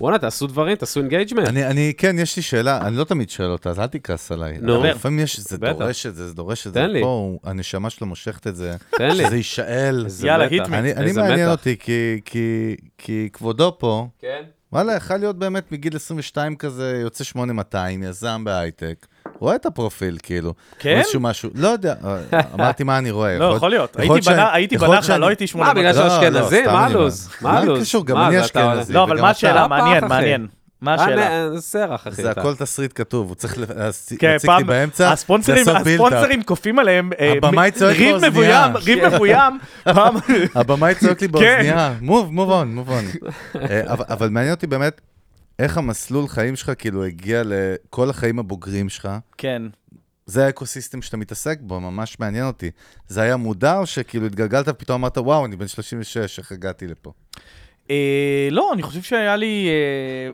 וואלה, תעשו דברים, תעשו אינגייג'מנט. אני, אני, כן, יש לי שאלה, אני לא תמיד שואל אותה, אז אל תכעס עליי. נו. אבל לפעמים יש, זה בטח. דורש את זה, זה דורש את זה. תן לי. פה, הוא- הנשמה שלו מושכת את זה. תן לי. שזה יישאל. איזה יאללה, מתח. hit me. אני, אני איזה מעניין מתח. אותי, כי, כי, כי כבודו פה, כן. וואלה, יכול להיות באמת מגיל 22 כזה, יוצא 8200, יזם בהייטק. רואה את הפרופיל, כאילו. כן? משהו, משהו, לא יודע, אה, אמרתי מה אני רואה. לא, יכול להיות. יכול הייתי שאני- בנה- הייתי יכול להיות בנחלה, שאני- לא הייתי שמונה מה, בגלל מאות. לא, לא, שאשכנזי? סתם מה אני הלו"ז? אומר. מה מה הלו"ז? קשור? גם מה, אני זה אתה- אשכנזי. לא, אבל וגם מה אתה. השאלה? הפח, מעניין, אחי. מעניין. מה השאלה? אה, סרח, אחי. זה אתה. הכל תסריט כתוב, הוא צריך להציג כן, לי באמצע, הספונסרים, לעשות בילדאפ. הספונסרים כופים עליהם, אה, הבמאי מ- צועק ריב באוזנייה. מבוים, כן. ריב מבוים, פעם, הבמאי צועק כן. לי באוזנייה, move, move on, move on. אה, אבל- אבל מעניין אותי באמת, איך המסלול חיים שלך כאילו הגיע לכל החיים הבוגרים שלך? כן, זה האקוסיסטם שאתה מתעסק בו, ממש מעניין אותי. זה היה מודע או שכאילו התגלגלת ופתאום אמרת, וואו, אני בן 36, איך הגעתי לפה? אה, לא, אני חושב שהיה לי... אה,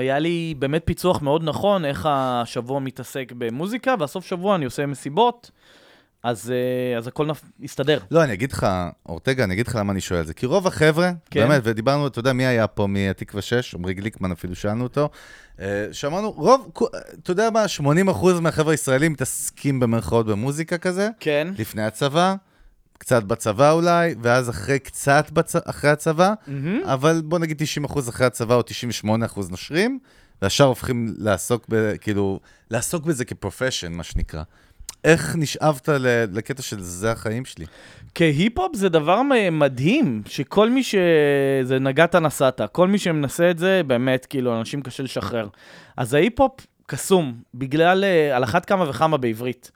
היה לי באמת פיצוח מאוד נכון, איך השבוע מתעסק במוזיקה, והסוף שבוע אני עושה מסיבות, אז, אה, אז הכל נפ... יסתדר. לא, אני אגיד לך, אורטגה, אני אגיד לך למה אני שואל את זה. כי רוב החבר'ה, כן. באמת, ודיברנו, אתה יודע, מי היה פה מהתקווה 6, עמרי גליקמן, אפילו שאלנו אותו, אה, שאמרנו, רוב, כו- אתה יודע מה, 80% מהחבר'ה הישראלים מתעסקים במרכאות במוזיקה כזה, כן. לפני הצבא, קצת בצבא אולי, ואז אחרי קצת בצ... אחרי הצבא, אבל בוא נגיד 90% אחרי הצבא או 98% נושרים, והשאר הופכים לעסוק, ב... כאילו, לעסוק בזה כפרופשן, מה שנקרא. איך נשאבת ל- לקטע של זה החיים שלי? כהיפ-הופ זה דבר מ- מדהים, שכל מי ש... זה נגעת נסעת, כל מי שמנסה את זה, באמת, כאילו, אנשים קשה לשחרר. אז ההיפ-הופ קסום, בגלל, אה, על אחת כמה וכמה בעברית.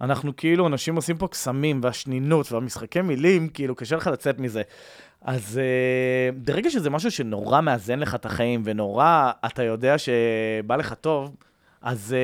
אנחנו כאילו, אנשים עושים פה קסמים, והשנינות, והמשחקי מילים, כאילו, קשה לך לצאת מזה. אז אה, ברגע שזה משהו שנורא מאזן לך את החיים, ונורא אתה יודע שבא לך טוב, אז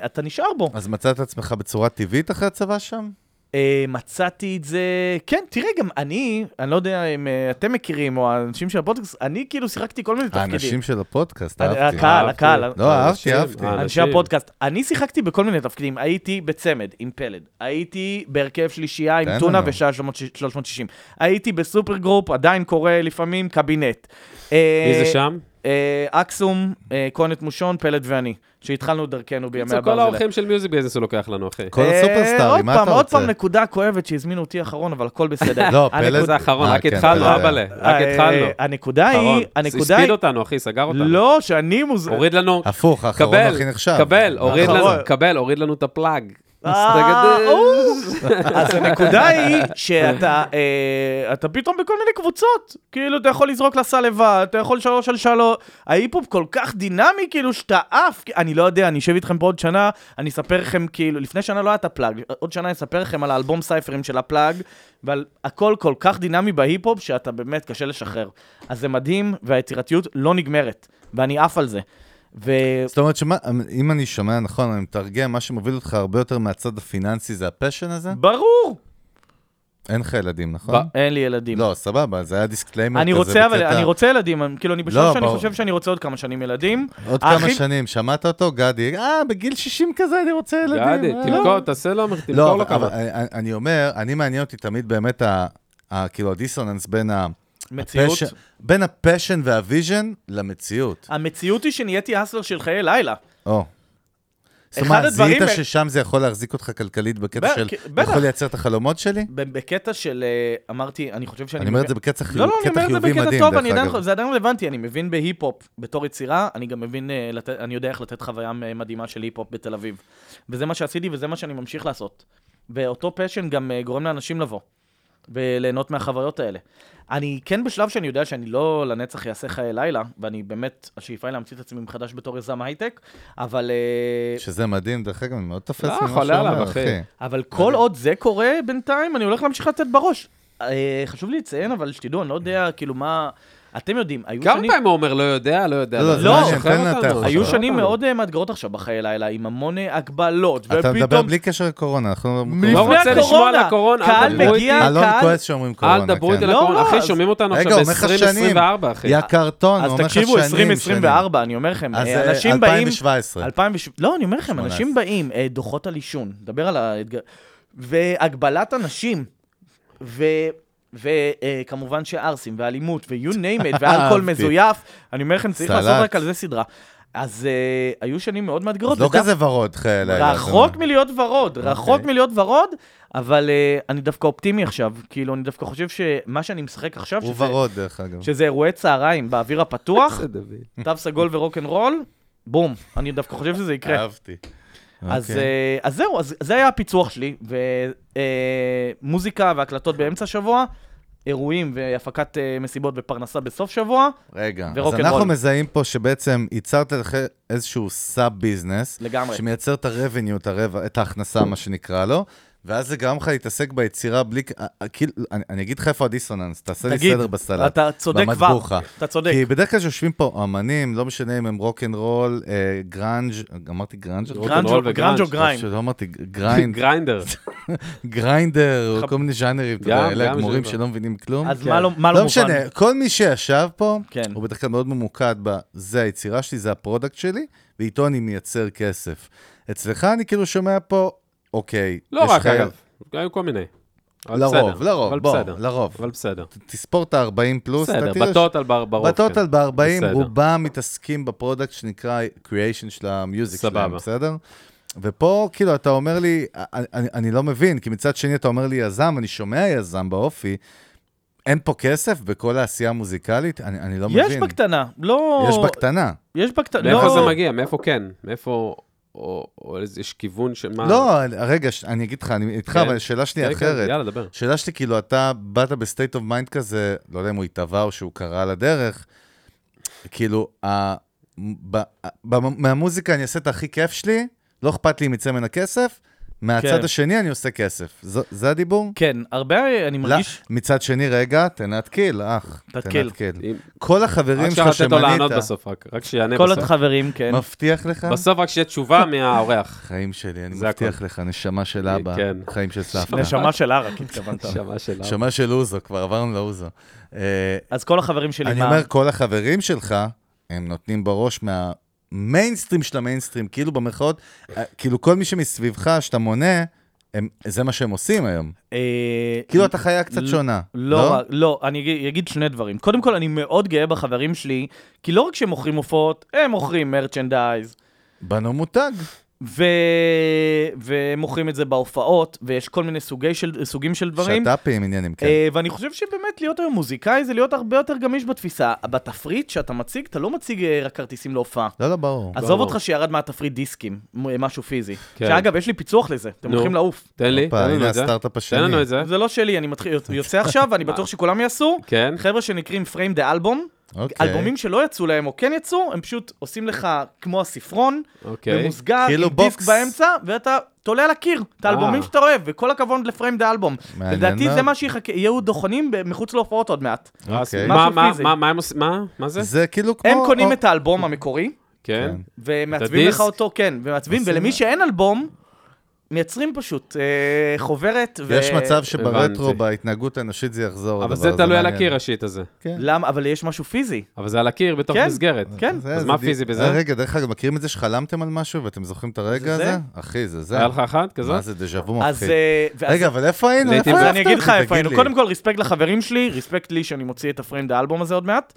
אה, אתה נשאר בו. אז מצאת את עצמך בצורה טבעית אחרי הצבא שם? אה, מצאתי את זה, כן, תראה, גם אני, אני לא יודע אם אה, אתם מכירים, או האנשים של הפודקאסט, אני כאילו שיחקתי כל מיני תפקידים. האנשים של הפודקאסט, אני- אה, אהבתי. הקהל, אהבתי. הקהל. לא, אהבתי, אהבתי. אה, אנשי אנשים. הפודקאסט, אני שיחקתי בכל מיני תפקידים, הייתי בצמד עם פלד, הייתי בהרכב שלישייה תן עם טונה לנו. ושעה 360, הייתי בסופר גרופ, עדיין קורה לפעמים קבינט. מי זה שם? אה, אקסום, אה, כהנת מושון, פלד ואני, שהתחלנו דרכנו בימי בקיצור, הברזל. כל האורחים של מיוזיק ביזנס הוא לוקח לנו, אחי. כל אה, הסופרסטארים, מה עוד אתה פעם, עוד פעם רוצה? נקודה כואבת שהזמינו אותי אחרון, אבל הכל בסדר. לא, הנקודה- פלד- זה האחרון, אה, רק כן, התחלנו, פלד. אבאלה. רק אה, התחלנו. הנקודה אחרון. היא, הנקודה היא, הספיד אותנו, אחי, סגר אותנו. לא, שאני מוז... הוריד לנו, הפוך, האחרון קבל, הכי נחשב. קבל, הוריד האחרון. לנו, קבל, הוריד לנו את הפלאג. אה, מסתגדל. אוף. אז הנקודה היא שאתה אה, אתה פתאום בכל מיני קבוצות. כאילו, אתה יכול לזרוק לסל לבד, אתה יכול שלוש על שלוש. ההיפ-הופ כל כך דינמי, כאילו, שאתה עף. אני לא יודע, אני אשב איתכם פה עוד שנה, אני אספר לכם, כאילו, לפני שנה לא היה את הפלאג, עוד שנה אני אספר לכם על האלבום סייפרים של הפלאג, ועל הכל כל כך דינמי בהיפ-הופ, שאתה באמת קשה לשחרר. אז זה מדהים, והיצירתיות לא נגמרת, ואני עף על זה. ו... זאת אומרת, שמה- אמ, אם אני שומע נכון, אני מתרגם, מה שמוביל אותך הרבה יותר מהצד הפיננסי זה הפשן הזה? ברור! אין לך ילדים, נכון? אין לי ילדים. לא, סבבה, זה היה דיסקליימר אני כזה רוצה, אבל בקטע- אני רוצה ילדים, אני- כאילו, אני לא, בשלב שאני ברור. חושב שאני רוצה עוד כמה שנים ילדים. עוד כמה האחים- שנים, שמעת אותו? גדי, אה, בגיל 60 כזה אני רוצה ילדים. גדי, אה, תמכור, תעשה לו, לא, תמכור אבל- לו אבל כמה. אני- אני אומר, אני מעניין אותי תמיד באמת, ה- ה- כאילו, הדיסוננס בין ה... מציאות. הפשן- בין הפשן והוויז'ן למציאות. המציאות היא שנהייתי אסלר של חיי לילה. או. זאת אומרת, זיהית הדברים- ששם זה יכול להחזיק אותך כלכלית בקטע ב- של, כן, בטח. יכול לייצר את החלומות שלי? ב- בקטע של, אה, אמרתי, אני חושב שאני... אני אומר את מבין- זה בקטע חיוב- לא, לא, אני קטע אומר את זה חיובי בקטע מדהים, טוב, אני דרך עדיין, אגב. זה עדיין רלוונטי, אני מבין בהיפ-הופ בתור יצירה, אני גם מבין, אה, לת- אני יודע איך לתת חוויה אה, מדהימה של היפ-הופ בתל אביב. וזה מה שעשיתי וזה מה שאני ממשיך לעשות. ואותו פשן גם אה, גורם לאנשים לבוא, וליהנות מהחוויות האלה. אני כן בשלב שאני יודע שאני לא לנצח אעשה חיי לילה, ואני באמת, השאיפה היא להמציא את עצמי מחדש בתור יזם הייטק, אבל... אה, שזה מדהים, דרך אגב, אני מאוד תופס לא, ממה שהוא חולה עליו, אומר, אחי. אחי. אבל כל עוד זה קורה בינתיים, אני הולך להמשיך לתת בראש. אה, חשוב לי לציין, אבל שתדעו, אני לא יודע, כאילו, מה... אתם יודעים, היו כמה שנים... פעמים הוא אומר, לא יודע, לא יודע. לא, לא, יודע, זה לא, שחרר תן לה את אותנו. היכולת. היו אבל- שנים מאוד אה, מאתגרות עכשיו בחיי לילה, עם המון אה, הגבלות, אתה מדבר ופתאום... בלי קשר לקורונה, אנחנו... לא לפני רוצה לשמוע על הקורונה, אל קהל תדברו מגיע, איתי. לא אלון קהל... כועס שאומרים אל קורונה, דברו איתי כן. על לא, הקורונה, לא, אחי, אז- שומעים אותנו רגע, עכשיו אומר לך שנים. ב-2024, אחי. יא קרטון, הוא אז אומר לך שנים. תקשיבו, שנים. 2024, אני אומר לכם, אז אה, אה, אנשים באים... 2017. 2007, לא, אני אומר לכם, 18. אנשים באים, אה, דוחות על עישון, דבר על האתגר, והגבלת אנשים, וכמובן אה, שערסים, ואלימות, ו-you name it, ואלכוהול אהבתי. מזויף, אני אומר לכם, צריך לעשות אה, סלט. רק על זה סדרה. אז אה, היו שנים מאוד מאתגרות. אז לא ודווקא- כזה ורוד, חיי לילה. רחוק אתה מלהיות ורוד, רחוק אוקיי. מלהיות ורוד, אבל אה, אני דווקא אופטימי עכשיו, כאילו, אני דווקא חושב שמה שאני משחק עכשיו, אומר. הוא שזה- ורוד, דרך אגב. שזה אירועי צהריים באוויר הפתוח, זה דביל. תו סגול ורוקנרול, בום, אני דווקא חושב שזה יקרה. אהבתי. אז, אוקיי. אה, אז זהו, אז זה היה הפיצוח שלי, ומוזיקה והקלטות באמצע השבוע, אירועים והפקת אה, מסיבות ופרנסה בסוף שבוע, רגע, אז ורוק אנד אנחנו רול. מזהים פה שבעצם ייצרת לך איזשהו סאב ביזנס, לגמרי. שמייצר את הרבניו, את, הרבע, את ההכנסה, מה שנקרא לו, ואז זה גרם לך להתעסק ביצירה בלי... כ- אה, אה, כאילו, אני, אני אגיד לך איפה הדיסוננס, תעשה לי תגיד, סדר בסלט. אתה צודק כבר, במטבוחה. אתה צודק. כי בדרך כלל כשיושבים פה אמנים, לא משנה אם הם רוקנרול, אה, גראנג', אמרתי גראנג'? רול גרנג'ו וגראנג'. גרנג'ו גריינד. לא אמרתי גריינד, גריינדר. גריינדר, או כל מיני ז'אנרים, אתה יודע, גם, אלה גם הגמורים ז'אנר. שלא מבינים כלום. אז מה לא מה לא לא מובן? משנה, כל מי שישב פה, כן. הוא בדרך כלל מאוד ממוקד ב, זה היצירה שלי, זה הפרודקט שלי, ואיתו אני מייצר כסף. אצלך אני כאילו שומע פה, אוקיי. לא יש רק, לך- אגב. היו כל מיני. אבל לרוב, בסדר, לרוב, אבל בוא, בסדר, לרוב. אבל בסדר. ת- תספור את ה-40 פלוס, בסדר, אתה תראה... בטוטל בר- ברוב, בטוטל כן. ב-40, בסדר. רובם מתעסקים בפרודקט שנקרא creation של המיוזיק שלהם, סבבה. בסדר? ופה, כאילו, אתה אומר לי, אני, אני- אני לא מבין, כי מצד שני אתה אומר לי יזם, אני שומע יזם באופי, אין פה כסף בכל העשייה המוזיקלית? אני, אני לא יש מבין. בקטנה, לא... יש בקטנה. יש בקטנה, מאיפה לא... זה מגיע? מאיפה כן? מאיפה... או או איזה- יש כיוון שמה... לא, רגע, ש- אני אגיד לך, אני איתך, אה. כן. אבל השאלה שלי כן, היא כן, אחרת. יאללה, דבר. שאלה שלי, כאילו, אתה באת בסטייט אוף מיינד כזה, לא יודע אם הוא התהווה או שהוא קרא על הדרך, כאילו, ה... ב... ב... מהמוזיקה אני אעשה את הכי כיף שלי, לא אכפת לי אם יצא ממנה כסף, מהצד כן. השני אני עושה כסף. ז... זה הדיבור? כן, הרבה, אני מרגיש... לא, מצד שני, רגע, תנתקיל, אח. תתקיל. תנתקיל. אם- כל החברים רק שלך שכח לתת לו לענות שמנית, בסוף, רק רק שיענה כל בסוף. החברים, כן. מבטיח לך? בסוף רק שתהיה תשובה מהאורח. חיים שלי, אני זה מבטיח הכל. לך, נשמה של אבא, כן. חיים של סבתא. נשמה של ערק, התכוונת. נשמה שלה. נשמה של אוזו, כבר עברנו לאוזו. אה, אז כל החברים שלי, אני מה? אומר, כל החברים שלך, הם נותנים בראש מהמיינסטרים של המיינסטרים, כאילו במרכאות, אה, כאילו כל מי שמסביבך, שאתה מונה, הם, זה מה שהם עושים היום. אה, כאילו אתה חיה קצת ל- שונה. לא, רק- לא, אני אגיד- אגיד שני דברים. קודם כל, אני מאוד גאה בחברים שלי, כי לא רק שהם מוכרים עופות, הם מוכרים מרצ'נדייז, בנו מותג. ו... ומוכרים את זה בהופעות, ויש כל מיני סוגי של... סוגים של דברים. שת"פים, עניינים כן. כן. כאלה. אה, ואני חושב שבאמת להיות היום מוזיקאי זה להיות הרבה יותר גמיש בתפיסה. בתפריט שאתה מציג, אתה לא מציג אה, רק כרטיסים להופעה. לא, לא, ברור. עזוב ברור. אותך שירד מהתפריט דיסקים, מ- אה, משהו פיזי. כן. שאגב, יש לי פיצוח לזה, אתם נו. אה? הולכים לעוף. תן לי, הופה, תן לנו הנה את זה. הסטארט-אפ השני. תן לנו את זה. זה לא שלי, אני מתחיל, יוצא עכשיו, ואני בטוח שכולם יעשו. כן. חבר'ה שנקראים פריים דה אלבום, אוקיי. אלבומים שלא יצאו להם או כן יצאו, הם פשוט עושים לך כמו הספרון, אוקיי. במוסגר, כאילו עם דיסק בוקס. באמצע, ואתה תולה על הקיר את אה. האלבומים שאתה אוהב, וכל הכבוד לפריים דה אלבום. מעניין לדעתי מאוד. זה מה שיחכה, יהיו דוכנים ב- מחוץ להופעות עוד מעט. אוקיי. מה, משהו מה, פיזי. מה, מה הם עושים? מה? מה זה? זה כאילו כמו... הם קונים או- את האלבום המקורי, כן. ומעצבים הדיסק? לך אותו, כן, ומעצבים, עושים- ולמי שאין אלבום, מייצרים פשוט אה, חוברת. ו- יש מצב שברטרו, הבנתי. בהתנהגות האנושית זה יחזור. אבל הדבר זה הזה, תלוי על מעניין. כן, הקיר השיט הזה. למה? אבל יש משהו פיזי. אבל זה על הקיר בתוך כן. מסגרת. כן. זה- אז זה מה די- פיזי בזה? אה, רגע, דרך אגב, מכירים את זה שחלמתם על משהו ואתם זוכרים את הרגע זה זה? הזה? אחי, זה זה. היה לך אחת כזאת? מה זה דז'ה וו אז... מפחיד? אה, ואז- רגע, אבל איפה היינו? אני איפה הייתי- אז אהבת אני אגיד לך אותי? איפה תגיד היינו. לי. קודם כל, רספקט לחברים שלי, רספקט לי שאני מוציא את הפריים דה אלבום הזה עוד מעט.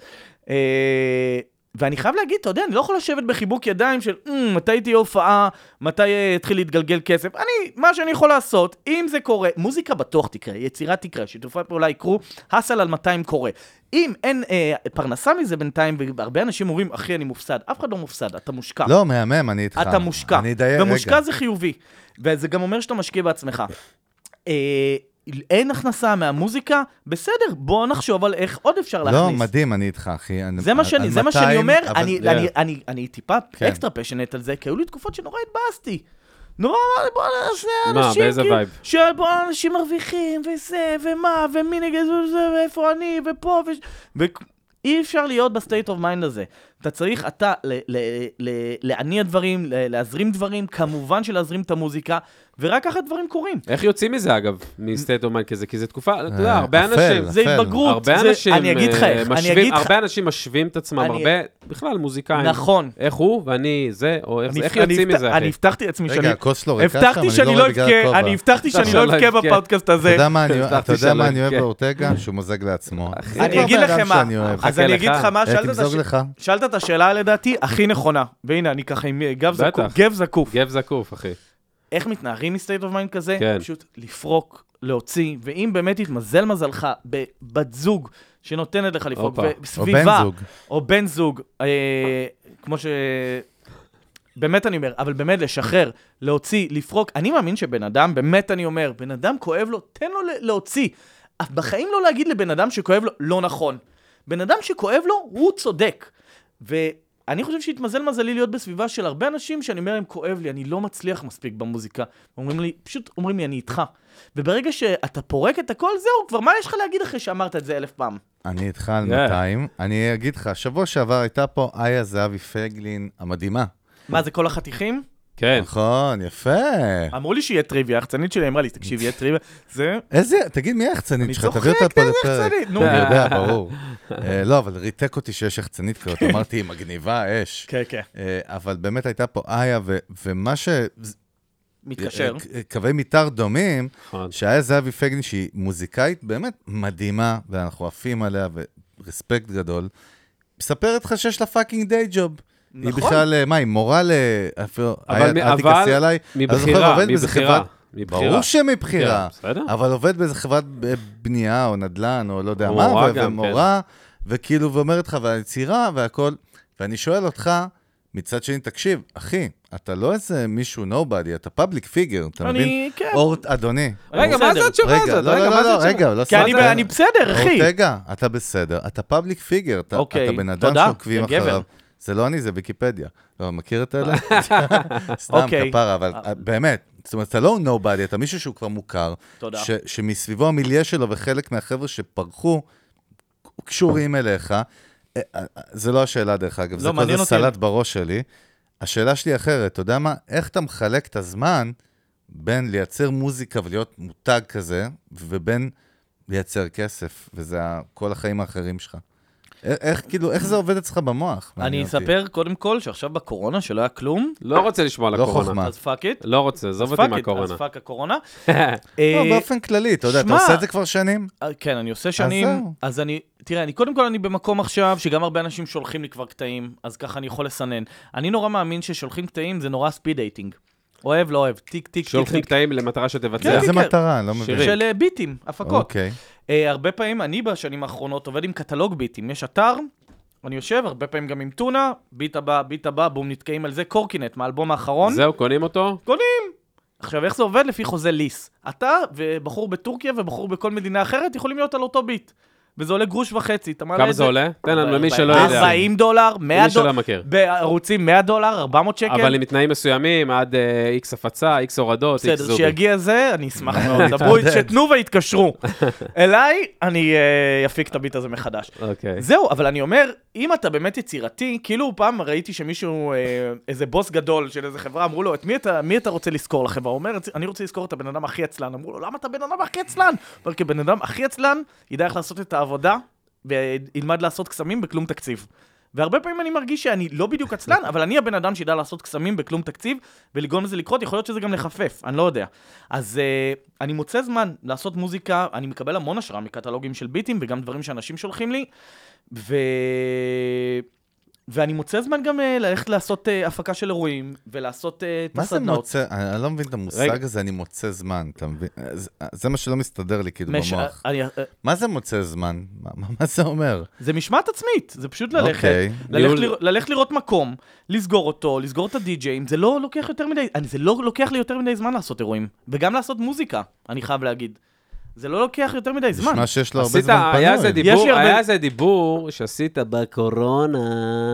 אה, ואני חייב להגיד, אתה יודע, אני לא יכול לשבת בחיבוק ידיים של "אמ, מתי תהיה הופעה, מתי אה, יתחיל להתגלגל כסף. אני, מה שאני יכול לעשות, אם זה קורה, מוזיקה בטוח תקרה, יצירה תקרה, שיתופי פעולה יקרו, האסל על 200 קורה. אם אין אה, פרנסה מזה בינתיים, והרבה אנשים אומרים, אחי, אני מופסד, אף אחד לא מופסד, אתה מושקע. לא, מהמם, אני איתך. אתה מושקע. אני אדייק, ומושקע רגע. זה חיובי. וזה גם אומר שאתה משקיע בעצמך. אה, אין הכנסה מהמוזיקה, בסדר, בוא נחשוב על איך עוד אפשר לא, להכניס. מדהים, אני איתך, אחי. אני- זה מה על- שאני, על זה מה 200, שאני אומר, אבל- אני- Yeah. אני- אני- אני טיפה כן. אקסטרה פשנט על זה, כי היו לי תקופות שנורא התבאסתי. נורא, בוא נעשה מה, אנשים, באיזה כאילו, וייב? שבוא אנשים מרוויחים, וזה, ומה, ומי נגד זה, וזה, ואיפה אני, ופה, וש... ו... אי אפשר להיות בסטייט אוף מיינד הזה. אתה צריך, אתה, ל- ל- ל- להניע דברים, ל- להזרים דברים, כמובן שלהזרים את המוזיקה, ורק ככה דברים קורים. איך יוצאים מזה אגב, מסטייט אוף מיינד כזה? כי זו תקופה, אתה יודע, אה, הרבה אפל. אנשים, זה נפל. התבגרות, הרבה זה- אנשים, אני אגיד לך אה, איך, אני משווים- אגיד לך, הרבה אנשים משווים את עצמם, אני- הרבה, בכלל מוזיקאים. נכון. איך הוא ואני זה, או איך אני- זה, איך אני יוצאים הבטח- מזה, אני אחי? הבטחתי לעצמי רגע, שאני הכוס שלו ריקה שם, הבטחתי שאני לא רואה בגלל אבכה, הכובע. אני הבטחתי שאני עכשיו לא לא אבכה אבכה. בפודקאסט אתה הזה. יודע מה אני- אתה הבטחתי יודע מה שלא אני אוהב אבכה. באורטגה? שהוא מוזג לעצמו. זה אני כבר אגיד בן אדם לכם מה, שאני אוהב. אז אני חכה אגיד לך. לך מה, איך שאלת את תמזוג הש- לך? שאלת את השאלה לדעתי הכי נכונה, והנה אני ככה עם אה, גב בטח. זקוף, גב זקוף. גב זקוף, אחי. איך מתנערים מסטייט אוף מיינד כזה? כן. פשוט לפרוק, להוציא, ואם באמת התמזל מזלך בבת זוג שנותנת לך לפרוק, הופה. וסביבה, או בן זוג. או בן זוג, אה, כמו ש... באמת אני אומר, אבל באמת לשחרר, להוציא, לפרוק. אני מאמין שבן אדם, באמת אני אומר, בן אדם כואב לו, תן לו ל- להוציא. אף בחיים לא להגיד לבן אדם שכואב לו, לא נכון. בן אדם שכואב לו, הוא צודק. ואני חושב שהתמזל מזלי להיות בסביבה של הרבה אנשים שאני אומר להם, כואב לי, אני לא מצליח מספיק במוזיקה. אומרים לי, פשוט אומרים לי, אני איתך. וברגע שאתה פורק את הכל, זהו, כבר מה יש לך להגיד אחרי שאמרת את זה אלף פעם? אני איתך על כן. Yeah. 200. אני אגיד לך, שבוע שעבר הייתה פה איה זהבי פייגלין המדהימה. מה, זה כל החתיכים? כן. נכון, יפה. אמרו לי שיהיה טריוויה, החצנית שלי אמרה לי, תקשיב, יהיה טריוויה. זה... איזה, תגיד, מי היחצנית אני שלך? צוחק, תביא אותה פה איזה לפרק. יחצנית? נו. אני יודע, ברור. אה, לא, אבל ריתק אותי שיש יחצנית כזאת, כן. אמרתי, היא מגניבה אש. כן, כן. אה, אבל באמת הייתה פה איה, ו- ומה ש... מתקשר. אה, קווי מתאר דומים, נכון. שהיה זהבי פייגלין, שהיא מוזיקאית באמת מדהימה, ואנחנו עפים עליה, ורספקט גדול, מספרת לך שיש לה פאקינג דיי ג'וב. היא נכון. בכלל, אה, מה, היא מורה ל... אפילו, היה- מ- אל תכעסי עליי. אז לא זוכר, מבחירה, עובד באיזה מבחירה, חברת- מבחירה. ברור שמבחירה, כן, בסדר. אבל עובד באיזה חברת ב- בנייה או נדל"ן או לא יודע מה, מורה ו- גם, כן. ומורה, וכאילו, ואומרת לך, והיצירה והכל, ואני שואל אותך, מצד שני, תקשיב, אחי, אתה לא איזה מישהו נובדי, אתה פאבליק פיגר, אתה אני- מבין? כן. אור, אדוני. רגע, מה זה בסדר. התשובה רגע, הזאת? לא, לא, רגע, מה לא, זה לא, התשובה? רגע, לא כי כן, אני סתם. ב- אני בסדר, אחי. אורטגה, אתה בסדר, אתה פאבליק פיגר, אתה, אוקיי, אתה בן אדם תודה, שעוקבים אתה גבר. אחריו. זה לא אני, זה ויקיפדיה. לא, מכיר את אלה? סתם, אוקיי. כפרה, אבל אה, באמת, זאת אומרת, אתה לא נובדי, אתה מישהו שהוא כבר מוכר, תודה. ש- שמסביבו המיליה שלו וחלק מהחבר'ה שפרחו קשורים אליך. אה, אה, זה לא השאלה, דרך אגב, זה מעניין כזה אותי. סלט בראש שלי. השאלה שלי אחרת, אתה יודע מה? איך אתה מחלק את הזמן בין לייצר מוזיקה ולהיות מותג כזה, ובין לייצר כסף, וזה ה- כל החיים האחרים שלך. א- איך, כאילו, איך זה עובד אצלך במוח? אני מעניין אותי. אספר קודם כל שעכשיו בקורונה, שלא היה כלום, לא רוצה לשמוע על לא הקורונה. חוכמה. מה? אז פאק איט. לא רוצה, עזוב אותי פאק איט, אז מהקורונה. פאק הקורונה. לא, אה, באופן כללי, אתה יודע, אתה שמע, עושה את זה כבר שנים? אה, כן, אני עושה שנים, זהו. אז אני, תראה, אני קודם כל אני במקום עכשיו, שגם הרבה אנשים שולחים לי כבר קטעים, אז ככה אני יכול לסנן. אני נורא מאמין ששולחים קטעים זה נורא ספיד דייטינג. אוהב, לא אוהב, טיק, טיק, טיק, שולחים טיק, קטעים למטרה שתבצע. כן, איזה כן. מטרה, אני לא מבין. שירים. של אה, ביטים, הפקות. אוקיי. אה, הרבה פעמים, אני בשנים האחרונות עובד עם קטלוג ביטים, יש אתר, אני יושב, הרבה פעמים גם עם טונה, ביט הבא, ביט הבא, בום, נתקעים על זה, קורקינט, מהאלבום האחרון. זהו, קונים אותו? עכשיו, איך זה עובד? לפי חוזה ליס. אתה ובחור בטורקיה ובחור בכל מדינה אחרת יכולים להיות על אותו ביט. וזה עולה גרוש וחצי, אתה מעלה כמה את זה זה. עולה? תן לנו למי שלא יודע. 40 דולר, 100 למי שלא דולר, מכיר. בערוצים 100 דולר, 400 שקל. אבל עם תנאים מסוימים, עד אה, איקס הפצה, איקס הורדות, איקס בסדר, זובי. כשיגיע זה, אני אשמח מאוד. דברו, שתנו ויתקשרו. אליי, אני אה, אפיק את הביט הזה מחדש. אוקיי. זהו, אבל אני אומר, אם אתה באמת יצירתי, כאילו פעם ראיתי שמישהו, אה, איזה בוס גדול של איזה חברה, אמרו לו, את מי אתה, מי אתה רוצה לזכור לחברה? הוא אומר, אני רוצה לזכור את הבן אדם הכי עצלן. אמרו לו, למה אתה בן אדם הכי עצלן? הוא אומר, כי בן אדם הכי עצלן ידע איך לעשות את העבודה, וילמד לעשות קסמים בכלום תקציב. והרבה פעמים אני מרגיש שאני לא בדיוק עצלן, אבל אני הבן אדם שידע לעשות קסמים בכלום תקציב, ולגרום לזה לקרות, יכול להיות שזה גם לחפף, אני לא יודע. אז uh, אני מוצא זמן לעשות מוזיקה, אני מקבל המון השראה מקטלוגים של ביטים, וגם דברים שאנשים שולחים לי, ו... ואני מוצא זמן גם אה, ללכת לעשות אה, הפקה של אירועים, ולעשות אה, את מה זה הסדנאות. מוצא, אני אני לא מבין את המושג רגע. הזה, אני מוצא זמן, אתה מבין? אה, זה- זה מה שלא מסתדר לי כאילו מש- במוח. אני- אה, מה זה מוצא זמן? מה- מה מה זה אומר? זה משמעת עצמית, זה פשוט ללכת, אוקיי. ללכת, ניהול- לרא- ללכת לראות מקום, לסגור אותו, לסגור את הדי-ג'אים, זה לא לוקח יותר מדי, אני, זה לא לוקח לי יותר מדי זמן לעשות אירועים, וגם לעשות מוזיקה, אני חייב להגיד. זה לא לוקח יותר מדי זמן. נשמע שיש לו הרבה עשית, זמן היה איזה פנוי. דיבור, לי הרבה- היה איזה דיבור שעשית בקורונה.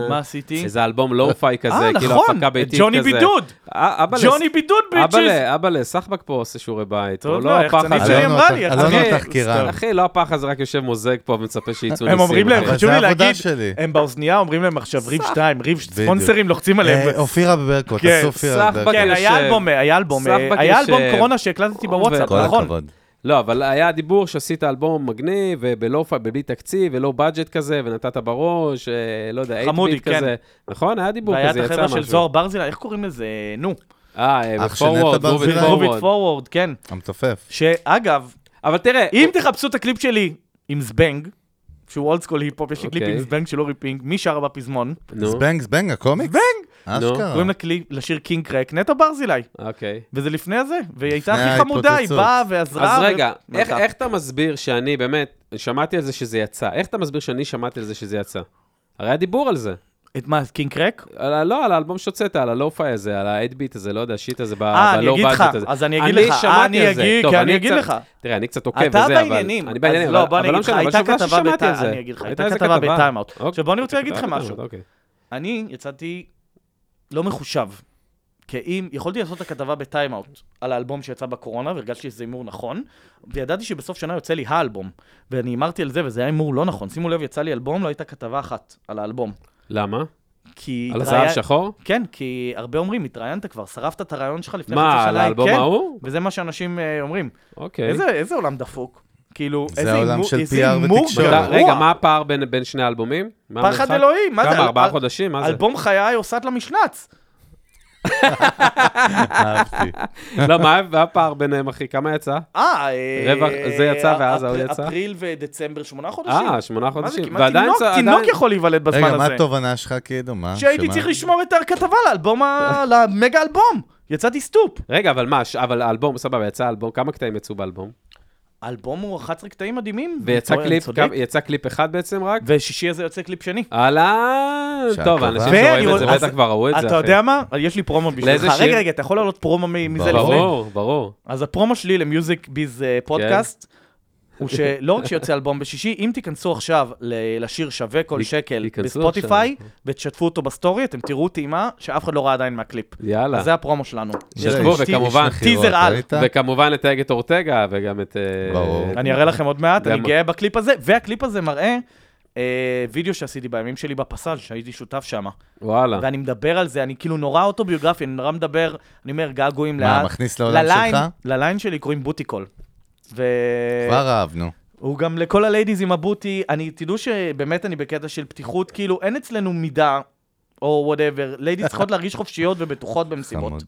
מה עשיתי? איזה אלבום לואו-פיי כזה, אה, כאילו נכון, הפקה ביתית את כזה. ג'וני בידוד. אה, אבאלה, ג'וני בידוד, ביצ'ס! אבאלה, אבאלה, סחבק פה עושה שיעורי בית, הוא טוב, לא לא, הפח היחצנית הזה. שלי אלונו אמרה לי, ת- אתה- אלונו אחי, תחקירן. אחי, לא הפח הזה רק יושב מוזג פה ומצפה שייצאו ניסים. הם אומרים להם, אחי. אבל חשוב זה לי העבודה להגיד, שלי. הם באוזנייה אומרים להם עכשיו, ריב 2, ריב בדיוק. ספונסרים לוחצים עליהם. אה, אופירה בברקו, כן, תעשו אופירה סחבק. בברקו. כן, היה יושב. אלבום, אה, היה אלבום, אה, סחבק היה אלבום יושב. קורונה שהקלטתי בוואטסאפ, כל נכון. הכבוד. לא, אבל היה דיבור שעשית אלבום מגניב, ובלופה, בלי תקציב, ולא בדג'ט כזה, ונתת בראש, אה, לא יודע, 8 חמודי, ביט כן. כזה. נכון, היה דיבור והיה את כזה, יצא החבר'ה משהו. של זוהר ברזילה, איך קוראים לזה? נו, אה, אח של נטע פורוורד, ברזילי. מוביל Move it מוביט פורוורד. פורוורד, כן. המתופף. שאגב, אבל תראה, אם תחפשו את הקליפ שלי עם זבנג, שהוא אולד סקול היפ-הופ, יש לי קליפ עם אוקיי. זבנג של אורי פינק, מי שר בפזמון? אה. נו, זבנג, זבנג, הקומיקס? אה, זבנג! אשכרה. קוראים לקליפ- לשיר קינג קרק, נטע ברזילי. אוקיי. וזה לפני הזה, והיא הייתה לפני הכי חמודה, היא ההתפוצצות. באה ועזרה. אז ו- רגע, איך- מתה. איך אתה מסביר שאני באמת, שמעתי על זה שזה יצא? איך אתה מסביר שאני שמעתי על זה שזה יצא? הרי היה דיבור על זה. את מה, קינג קרק? על ה- לא, על האלבום שהוצאת, על הלואו-פיי הזה, על האדביט הזה, לא יודע, השיט הזה, ב- אה, אני בלואו אגיד לך, בדג'ט הזה. אז אני אגיד לך, אה, שמעתי אני על זה. אגיד, טוב, כי אני אגיד קצת- לך. תראה, אני קצת עוקב אתה וזה, אבל... בעניינים. אני בעניינים, אז לא, אבל- בוא אני אבל לא אגיד לך, משנה, אבל הייתה שוב, לא כתבה ששמעתי על בטי- זה. אני אגיד לך, הייתה הייתה איזה כתבה ב-Time Out. אוקיי. עכשיו, בוא אני רוצה להגיד לך כתבה ב-Time משהו. Out, אוקיי. אני יצאתי לא מחושב. כי אם, יכולתי לעשות את הכתבה בטיימאוט על האלבום שיצא בקורונה, והרגשתי שזה הימור נכון, וידעתי שבסוף שנה יוצא לי האלבום. ואני הימרתי על זה, וזה היה הימור לא נכון. שימו לב, יצא לי אלבום, לא הייתה כתבה אחת על האלבום. למה? כי... על התראי- הזהב שחור? כן, כי הרבה אומרים, התראיינת כבר, שרפת את הרעיון שלך לפני חצי שנה. מה, על האלבום כן, ההוא? וזה מה שאנשים אה, אומרים. אוקיי. איזה, איזה עולם דפוק. כאילו, זה איזה העולם הימור- של איזה PR הימור ותקשורת. אתה- גרוע. רגע, מה הפער בין בין שני האלבומים? מה פחד המרחק? אלוהים, מה זה? כמה, אל- ארבעה אל- חודשים? מה זה? אלבום חיי הוסט למשנץ. אהבתי. לא, מה היה הפער ביניהם, אחי? כמה יצא? אה, אה, רווח, זה יצא ואז אפר- ההוא יצא? אפריל ודצמבר, שמונה חודשים. אה, שמונה מה זה, חודשים. כמעט תינוק, צ- תינוק עדיין- יכול להיוולד בזמן הזה. רגע, מה התובנה שלך כאילו? מה? שהייתי שמה? צריך לשמור את הכתבה לאלבום, ה- למגה אלבום. יצאתי סטופ. רגע, אבל מה, ש- אבל האלבום, סבבה, יצא אלבום, כמה קטעים יצאו באלבום? האלבום הוא 11 קטעים מדהימים. ויצא אני קליפ, צודק. כמה- אה, יצא קליפ אחד בעצם רק? ושישי הזה יוצא קליפ שני. אהלן, שעה טוב, טובה. אנשים ואני שרואים לא את רוצה- זה אז בטח כבר ראו את זה, אחי. אתה יודע מה? יש לי פרומו לאיזה בשבילך. שיר? רגע, רגע, אתה יכול לעלות פרומו מ- מזה לפני? ברור, ברור. אז הפרומו שלי למיוזיק ביז אה, כן. פודקאסט, הוא שלא רק שיוצא אלבום בשישי, אם תיכנסו עכשיו ל- לשיר שווה כל ת- שקל תיכנסו בספוטיפיי, עכשיו. ותשתפו אותו בסטורי, אתם תראו טעימה שאף אחד לא ראה עדיין מהקליפ. יאללה. אז זה הפרומו שלנו. יש לה שכבו, איש- וכמובן, איש מכירות, טיזר על. ראית? וכמובן את אגת אורטגה, וגם את... אה, ברור. אני אראה לכם עוד מעט, אני גם- גאה בקליפ הזה, והקליפ הזה מראה אה, וידאו שעשיתי בימים שלי בפסאז', שהייתי שותף שם. אה. וואלה. ואני מדבר על זה, אני כאילו נורא אוטוביוגרפי, אני נורא מדבר, אני אומר געגועים לאט. מה, מכניס לעולם לליין- שלך? לליין שלי קוראים בוטיקול. ו... כבר אה, אהבנו. הוא גם לכל הליידיז עם הבוטי, אני, תדעו שבאמת אני בקטע של פתיחות, כאילו אין אצלנו מידה, או וואטאבר, ליידיז צריכות להרגיש חופשיות ובטוחות במסיבות. חמוד.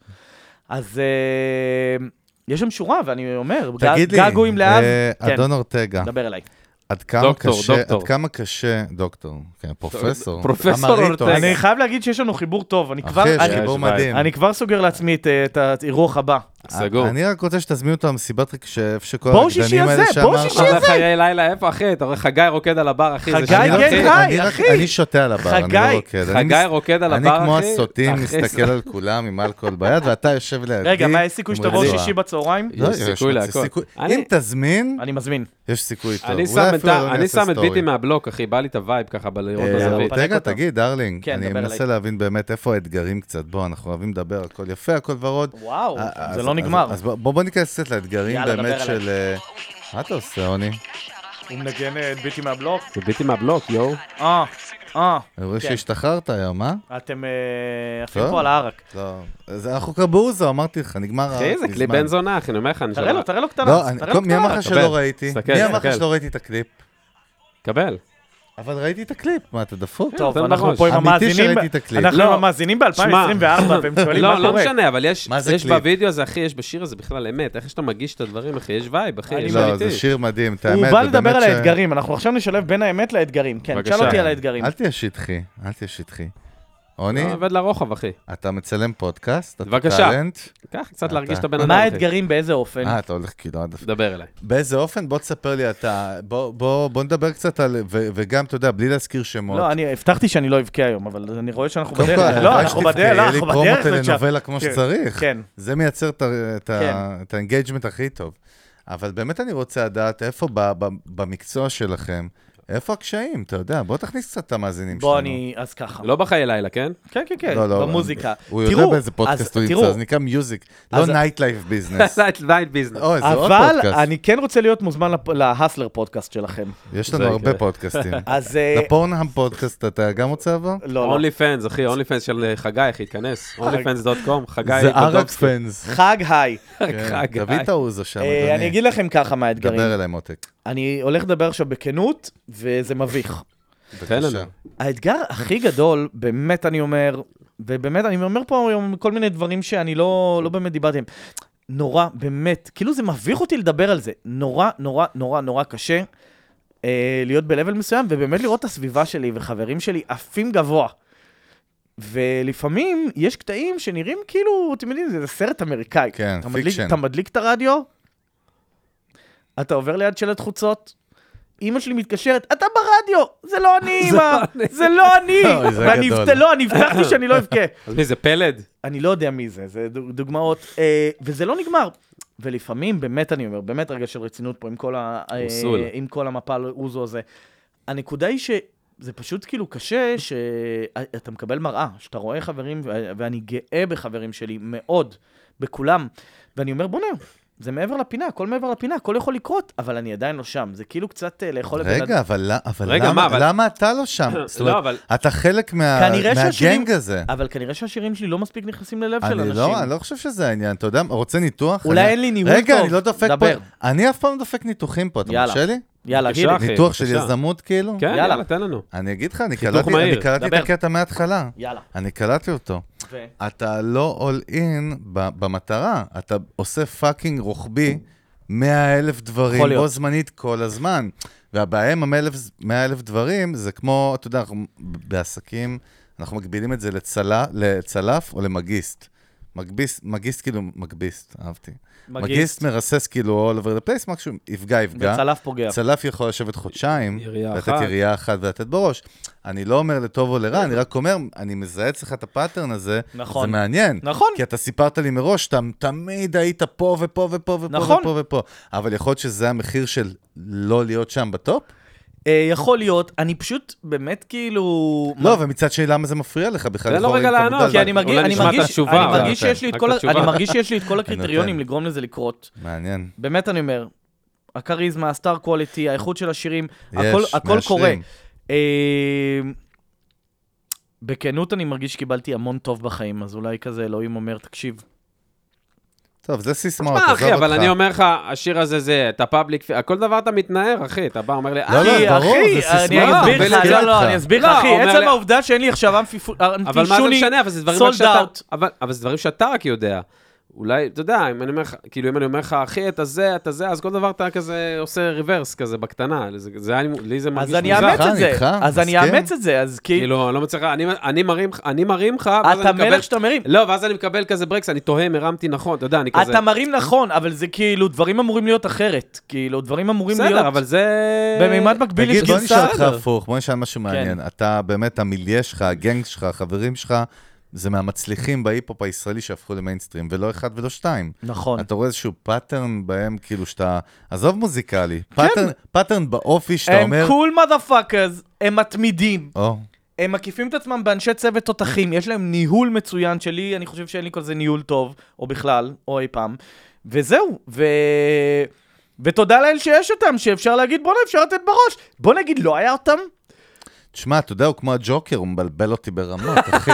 אז אה, יש שם שורה, ואני אומר, גע- תגיד לי, געגועים לאב, אה, כן, אדון אורטגה, דבר אליי. עד כמה דוקטור, קשה, דוקטור. עד כמה קשה, דוקטור, כן, פרופסור, פרופסור אמריטוס. אורטגה. אני חייב להגיד שיש לנו חיבור טוב, אני כבר... אחי, יש אני- חיבור יש בעיה. מדהים. אה, אני כבר סוגר לעצמי את, אה, את האירוח הבא. סגור. אני רק רוצה שתזמינו אותו למסיבת רק שאיפה שכל בואו שישי הרקדנים האלה הזה, שאמרת. בואו שישי אתה רואה חיי לילה, איפה אחי? אתה רואה חגי רוקד על הבר, אחי. זה חגי, שני אני רק- כן, אחי. חי, אני רק- אחי. אני שותה על הבר, אני לא חגי, רוקד. אני מס- חגי רוקד על אני הבר, כמו אחי. הסוטים, אחי, מסתכל על כולם עם אלכוהול ביד, ואתה יושב לידי. רגע, מה, יש עם סיכוי שתבואו רצועה. שישי בצהריים? יש סיכוי להכל. סיכוי. אני- אם תזמין, אני מזמין. יש סיכוי טוב. אני אולי שם את אפילו ה- אני אעשה שם את סטורי. ביטי מהבלוק, אחי, בא לי את הווייב ככה, בלראות את אה, יאללה, הזווית. פנק רגע, אותו. תגיד, דרלינג, כן, אני דבר מנסה אליי. להבין באמת איפה האתגרים קצת. בוא, אנחנו אוהבים לדבר, הכל יפה, הכל ורוד. וואו, אה, זה אז- לא אז- נגמר. אז בוא בוא ניכנס קצת לאתגרים יאללה, באמת דבר של... אה, מה אתה עושה, עוני? הוא מנגן אה, את ביטי מהבלוק? זה ביטי מהבלוק, יואו. אה, אה. אני רואה כן. שהשתחררת היום, אה? אתם אה, עפים טוב. פה על הערק. לא. אז אנחנו קבורזו, אמרתי לך, נגמר... אחי, זה לא מזמן. קליפ בן זונה, אחי, אני אומר לך, אני תראה שומע. לו, תראה לו קטנה. לא, אני- תראה לו מי אמר קטנה. לך קבל. שלא ראיתי? תסתכל, מי אמר לך תסתכל. שלא ראיתי את הקליפ? קבל. אבל ראיתי את הקליפ, מה, אתה דפוק? לא, טוב, תן אנחנו בראש. פה עם אמיתי המאזינים, שראיתי את הקליפ. אנחנו לא. עם המאזינים ב-2024, והם שואלים מה לא, לא קורה. משנה, אבל יש מה זה יש קליפ? בווידאו הזה, אחי, יש בשיר הזה בכלל אמת. איך שאתה מגיש את הדברים, אחי, יש וייב, אחי. יש לא, אמיתי. זה שיר מדהים, את האמת. הוא בא זה לדבר באמת על ש- האתגרים, אנחנו עכשיו נשלב בין האמת לאתגרים. כן, בבקשה. תשאל אותי על האתגרים. אה, אל לא, תהיה שטחי, אל תהיה שטחי. עוני, אני עובד לרוחב, אחי. אתה מצלם פודקאסט, אתה בבקשה. טאלנט. קח קצת להרגיש את הבן אדם, מה אחי. האתגרים באיזה אופן? אה, אתה הולך כאילו עד... דבר אליי. באיזה אופן? בוא תספר לי אתה, בוא- בוא בוא נדבר קצת על, ו- וגם, אתה יודע, בלי להזכיר שמות. לא, אני הבטחתי שאני לא אבכה היום, אבל אני רואה שאנחנו קודם כל, בדרך. לא, הלוואי אנחנו שתבכה, בדרך, יהיה לי אנחנו פרומו בדרך. לשם. טלנובלה כמו כן, שצריך. כן. זה מייצר את ה- את ה- את האנגייג'מנט הכי טוב. אבל באמת אני רוצה לדעת איפה ב- ב- במקצוע שלכם, איפה הקשיים, אתה יודע, בוא תכניס קצת את המאזינים שלנו. בוא, אני... אז ככה. לא בחיי לילה, כן? כן, כן, כן, לא, לא, במוזיקה. הוא יודע תראו, באיזה אז פודקאסט הוא תראו, נמצא, זה נקרא מיוזיק, לא אז- נייטלייב ביזנס. זה עדיין ביזנס. אוי, זה עוד אבל פודקאסט. אני כן רוצה להיות מוזמן לפ- להסלר פודקאסט שלכם. יש לנו זה הרבה יקרה. פודקאסטים. אז... אה, לפורנהאם פודקאסט אתה גם רוצה לבוא? לא, לא. אונלי פאנס, אחי, אונלי פאנס של אה, חגי, אחי, תיכנס. onlyfans.com, חגי זה ערק בודובסקי. פנס. חג היי. חגי. תביא את האוזו שם, אה, אני אדוני. אגיד לכם ככה מה האתגרים. דבר אליי מותק. אני הולך לדבר עכשיו בכנות, וזה מביך. תן בבקשה. לנו. האתגר הכי גדול, באמת אני אומר, ובאמת אני אומר פה היום כל מיני דברים שאני לא, לא באמת דיברתי עליהם. נורא, באמת, כאילו זה מביך אותי לדבר על זה. נורא, נורא, נורא, נורא קשה אה, להיות ב-level מסוים, ובאמת לראות את הסביבה שלי וחברים שלי עפים גבוה. ולפעמים יש קטעים שנראים כאילו, אתם יודעים, זה סרט אמריקאי. כן, אתה מדליק, פיקשן. אתה מדליק את הרדיו, אתה עובר ליד שלט חוצות, אימא שלי מתקשרת, אתה ברדיו! זה לא אני, אמא! זה לא אני! אוי, זה ואני גדול. הבט- לא, אני הבטחתי שאני לא אבכה. אז מי זה, פלד? אני לא יודע מי זה, זה דוג- דוגמאות. אה, וזה לא נגמר. ולפעמים, באמת אני אומר, באמת רגע של רצינות פה עם כל, ה, אה, אוסול. עם כל המפה על אוזו הזה. הנקודה היא שזה פשוט כאילו קשה שאתה מקבל מראה, שאתה רואה חברים, ו- ואני גאה בחברים שלי מאוד, בכולם. ואני אומר, בוא'נה, זה מעבר לפינה, הכל מעבר לפינה, הכל יכול לקרות, אבל אני עדיין לא שם. זה כאילו קצת אה, לאכול לבן רגע, אבל לא- אבל רגע, למה- מה, אבל- למה אתה לא שם? זאת לא, אומרת, אבל... אתה חלק מה- כנראה שהשירים- מהגנג הזה. אבל כנראה שהשירים שלי לא מספיק נכנסים ללב של אני אנשים. לא, אני לא חושב שזה העניין, אתה יודע, רוצה ניתוח? אולי אני- אין לי ניהול רגע, טוב. אני לא דופק פה, דבר. אני אף פעם לא דופק ניתוחים פה, אתה יאללה. מרשה לי? יאללה, בבקשה. גילי. אחי, ניתוח של בבקשה. יזמות כאילו? כן, יאללה. יאללה, תן לנו. אני אגיד לך, אני קלטתי אני מהיר, קלטתי את דבר. הקטע מההתחלה. יאללה. אני קלטתי אותו. ו- אתה לא אול אין במטרה, אתה עושה פאקינג רוחבי 100 אלף יכול דברים להיות. בו זמנית כל הזמן. והבעיה עם 100 אלף דברים זה כמו, אתה יודע, אנחנו בעסקים, אנחנו מגבילים את זה לצלה, לצלף או למגיסט. מגביסט, מגיסט כאילו, מגביסט, אהבתי. מגיסט. מגיסט, מרסס כאילו all over the place, משהו, יפגע, כן. יפגע. וצלף פוגע. צלף יכול לשבת חודשיים, ירייה לתת אחת. ירייה אחת ולתת בראש. אני לא אומר לטוב או לרע, אני רק אומר, אני מזהה אצלך את הפאטרן הזה, כן. נכון. זה מעניין. נכון. כי אתה סיפרת לי מראש, אתה תמיד היית פה ופה ופה ופה נכון. ופה ופה. אבל יכול להיות שזה המחיר של לא להיות שם בטופ? אה, יכול להיות, אני פשוט באמת כאילו... לא, ומצד שני, למה זה מפריע לך בכלל? תן לו לכאורה, רגע אם אתה לענות, מודע לא כי לזה. אני מרגיש, אולי אני נשמע את מרגיש, התשובה, אני אבל- כן, מרגיש שיש לי את רק כל, את ה- התשובה. אני מרגיש שיש לי את כל נותן. הקריטריונים לגרום לזה לקרות. מעניין. באמת אני אומר, הכריזמה, הסטאר קואליטי, האיכות של השירים, יש, הכל, הכל מאשרים. קורה. אה, בכנות אני מרגיש שקיבלתי המון טוב בחיים, אז אולי כזה אלוהים אומר, תקשיב, טוב, זה סיסמאות, מה, עזוב אה, אותך. אה, אחי, אבל אני אומר לך, השיר הזה זה, אתה פאבליק, כל דבר אתה מתנער, אחי, אתה בא, אומר לי, "אה, לא, אחי, כי, ברור, אחי, זה אני סיסמה, אסביר לך, בלעדי לא, לא, אותך. אני אסביר לך, לא, אחי, אומר עצם לי- העובדה שאין לי עכשיו אנטיפו- אבל מה זה אנטישוני, משנה, אבל זה דברים רק סולד שאתה... אאוט. אבל, אבל זה דברים שאתה רק יודע. אולי, אתה יודע, אם אני אומר לך, כאילו, אם אני אומר לך, אחי, אתה זה, אתה זה, אז כל דבר אתה כזה עושה ריברס כזה בקטנה. זה, זה, היה לי- לי זה מרגיש אז אני מוזר. אאמץ איתך, את זה, איתך, אז אני מסכים. אאמץ את זה, אז כאילו, כאילו, אני לא מצליח, אני, אני מרים לך, אני מרים לך, ואז אתה אני מקבל... מלך שאתה מרים. לא, ואז אני מקבל כזה ברקס, אני תוהה אם הרמתי נכון, אתה יודע, אני כזה... אתה מרים נכון, אבל זה כאילו, דברים אמורים להיות אחרת. כאילו, דברים אמורים להיות... בסדר, אבל זה... בממד מקביל יש תגיד, בוא נשאל גרסה. אותך הפוך, בוא נשאל משהו כן. מעניין. אתה באמת, המיליה שלך, הגנג שלך, החברים שלך, זה מהמצליחים בהיפ-הופ הישראלי שהפכו למיינסטרים, ולא אחד ולא שתיים. נכון. אתה רואה איזשהו פאטרן בהם, כאילו שאתה... עזוב מוזיקלי, פאטרן- פאטרן באופי שאתה כן. הם אומר... קול מודפאקרס, הם מתמידים, או, הם מקיפים את עצמם באנשי צוות תותחים, יש להם ניהול מצוין שלי, אני חושב שאין לי כל זה ניהול טוב, או בכלל, או אי פעם. וזהו, ו... ותודה לאל שיש אותם, שאפשר להגיד, בואנה, אפשר לתת בראש. בוא נגיד, לא היה אותם? תשמע, אתה יודע, הוא כמו הג'וקר, הוא מבלבל אותי ברמות, אחי.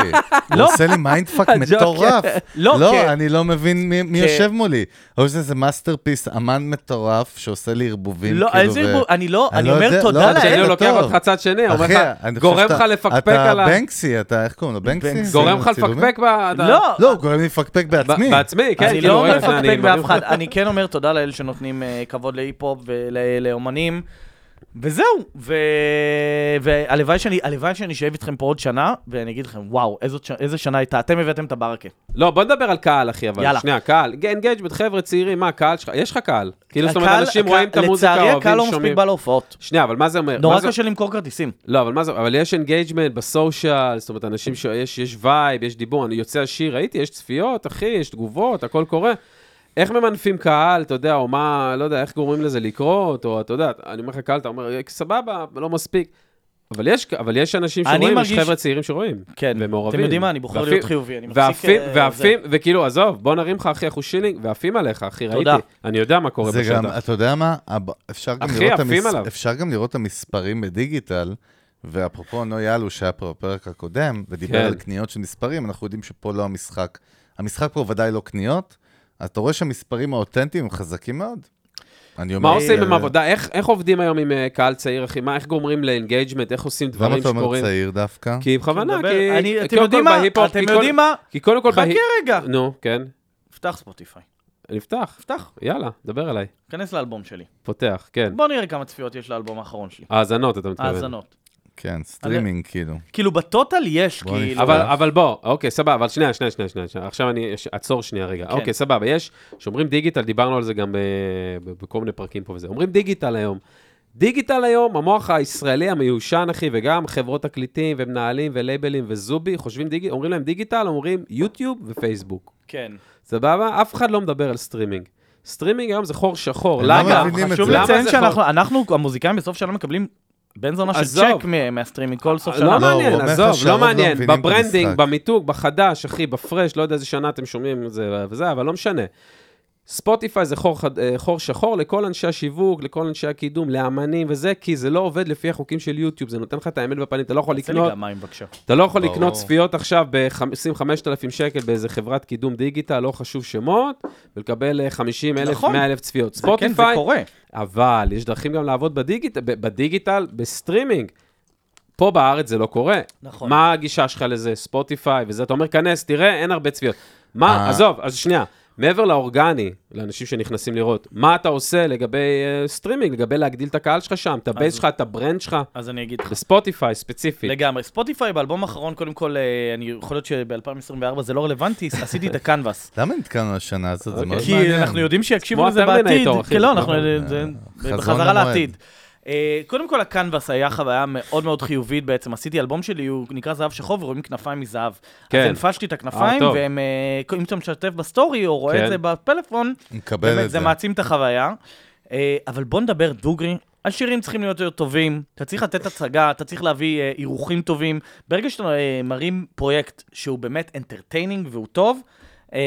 הוא לא. עושה לי מיינדפאק הג'וקר. מטורף. לא, כן. לא, אני לא מבין מי- מי כן. יושב מולי. או שזה מאסטרפיס, אמן מטורף, שעושה לי ערבובים, לא, כאילו, איזה ו- ערבוב, אני לא, אני אני לא אומר יודע, תודה לא, כשאני זה לאל. לוקח טוב. אותך צד שני, אומר אחי, אני לך, חושב גורם שאתה- לך לפקפק על אתה ה... בנקסי, אתה, איך קוראים לו? בנקסי? גורם לך צילומים? לפקפק ב... אתה- לא, לא, הוא גורם לי לפקפק בעצמי. ב- בעצמי, כן. אני כאילו, לא רגע, אני מפקפק מרים באף לך. אחד, אני כן אומר תודה לאל שנותנים אה, כבוד להיפ-הופ ולאומנים, וזהו, ו- והלוואי שאני, הלוואי שאני אשב איתכם פה עוד שנה, ואני אגיד לכם, וואו, איזו ש- איזה שנה הייתה, אתם הבאתם את הברקה. לא, בוא נדבר על קהל, אחי, אבל יאללה. שנייה, קהל. אינגייג'מנט, חבר'ה צעירים, מה, קהל שלך? יש לך קהל. כאילו, זאת אומרת, הקהל- אנשים הקהל- רואים את המוזיקה, לצערי הקהל אוהבים, לא מספיק שומעים. בא להופעות. שנייה, אבל מה זה אומר? נורא מה זה- קשה למכור כרטיסים. לא, אבל מה זה, אבל יש אינגייג'מנט בסושיאל, זאת אומרת, אנשים שיש, יש וייב, יש דיבור, אני יוצא השיר, ראיתי, יש צפיות, אחי, יש תגובות, הכל קורה. איך ממנפים קהל, אתה יודע, או מה, לא יודע, איך גורמים לזה לקרות, או אתה יודע, אני אומר לך קהל, אתה אומר, סבבה, לא מספיק. אבל יש, אבל יש אנשים אני שרואים, יש מרגיש- חבר'ה צעירים שרואים. כן, ומעורבים. אתם יודעים מה, אני בוחר ואפים- להיות חיובי, אני מפסיק, ואפים, אה, ואפים, וכאילו, עזוב, בוא נרים לך, אחי, אחוז שילינג, ואפים עליך, אחי, ראיתי. תודה. אני יודע מה קורה זה גם, בשטח. אתה יודע מה? הב- אפשר גם אחי, לראות את עפים המס- עליו. אפשר גם לראות את המספרים בדיגיטל, ואפרופו נוי אלו שהיה פה בפרק הקודם, ודיבר כן. על קניות של מספרים, אנחנו יודעים שפה לא המשחק. המשחק פה ודאי לא קניות, אז אתה רואה שהמספרים האותנטיים הם חזקים מאוד. אני אומר... מה עושים עם אה, עבודה? איך, איך עובדים היום עם אה, קהל צעיר, אחי? מה, איך גורמים לאינגייג'מנט? איך עושים אה, למה דברים אתה אומר שקורים? צעיר דווקא? כי בכוונה, מדבר- כי... כן, אני- כי אתם קודם יודעים כל מה? בהיפ-הופ, אתם כי כל- יודעים מה? כי קודם כל... חכה בהיפ- רגע. נו, כן. פתח ספוטיפיי, נפתח. פתח, יאללה, דבר אליי. כנס לאלבום שלי. פותח, כן. בוא נראה כמה צפיות יש לאלבום האחרון שלי. האזנות, אתה מתכוון. האזנות. כן, סטרימינג כאילו. כאילו בטוטל יש, בוא כאילו. אבל, אבל בוא, אוקיי, סבבה, אבל שנייה, שנייה, שנייה, שנייה, שנייה. עכשיו אני אש- אעצור שנייה רגע. כן. אוקיי, סבבה, יש, שאומרים דיגיטל, דיברנו על זה גם ב- ב- בכל מיני פרקים פה וזה. אומרים דיגיטל היום. דיגיטל היום, המוח הישראלי המיושן, אחי, וגם חברות תקליטים ומנהלים ולייבלים וזובי, חושבים דיגיטל, אומרים להם דיגיטל, אומרים יוטיוב ופייסבוק. כן. סבבה? אף אחד לא מדבר על סטרימינג. סטרימינג היום זה חור שחור, הם לא למה? מבינים את חשוב זה. למה לציין זה שאנחנו, אנחנו, המוזיקאים בסוף שנה מקבלים בן זונה של עזוב. צ'ק מה- מהסטרימינג כל סוף לא שנה. לא, הוא מעניין, אומר לך עזוב, שהרוב לא לא מעניין. מבינים את בברנדינג, המשחק. במיתוג, בחדש, אחי, בפרש, לא יודע איזה שנה אתם שומעים את זה וזה, אבל לא משנה. ספוטיפיי זה חור, חד- אה, חור שחור לכל אנשי השיווק, לכל אנשי הקידום, לאמנים וזה, כי זה לא עובד לפי החוקים של יוטיוב, זה נותן לך את האמת בפנים, אתה לא יכול תעשה לי לקנות, גם מים בבקשה. אתה לא יכול ברור. לקנות צפיות עכשיו ב-25,000 שקל באיזה חברת קידום דיגיטל, לא חשוב שמות, ולקבל אה, 50,000, נכון. 100,000 צפיות. זה כן, זה ספוטיפיי, קורה. אבל יש דרכים גם לעבוד בדיגיטל, ב- בדיגיטל, בסטרימינג. פה בארץ זה לא קורה. נכון. מה הגישה שלך לזה? ספוטיפיי וזה, אתה אומר, כנס, תראה, אין הרבה צפיות. מה, אה. עזוב, אז שנייה, מעבר לאורגני, לאנשים שנכנסים לראות, מה אתה עושה לגבי אה, סטרימינג, לגבי להגדיל את הקהל שלך שם, את הבייס שלך, את הברנד שלך, אז אני אגיד לך. בספוטיפיי ספציפית. לגמרי. ספוטיפיי באלבום האחרון, קודם כל, אה, אני יכול להיות שב-2024 זה לא רלוונטי, עשיתי את הקנבאס. למה נתקענו לשנה הזאת? זה מאוד אוקיי. כי מעניין. אנחנו יודעים שיקשיבו כמו לזה הטרמינטור, אחי. בעתיד. נכון. אה, כן, לא, אנחנו... זה- חזון בחזרה למועד. לעתיד. אה, קודם כל, הקנבאס היה חוויה מאוד מאוד חיובית בעצם. עשיתי אלבום שלי, הוא נקרא זהב שחור ורואים כנפיים מזהב. כן. אז הנפשתי את הכנפיים, אה, טוב. והם, אה, אם אתה משתף בסטורי או רואה כן. את זה בפלאפון, נקבל את באמת, זה. זה מעצים את החוויה. אה, אבל בוא נדבר דוגרי. השירים צריכים להיות יותר טובים, אתה צריך לתת הצגה, אתה צריך להביא אה, אירוחים טובים. ברגע שאתה אה, מרים פרויקט שהוא באמת אנטרטיינינג והוא טוב, אה,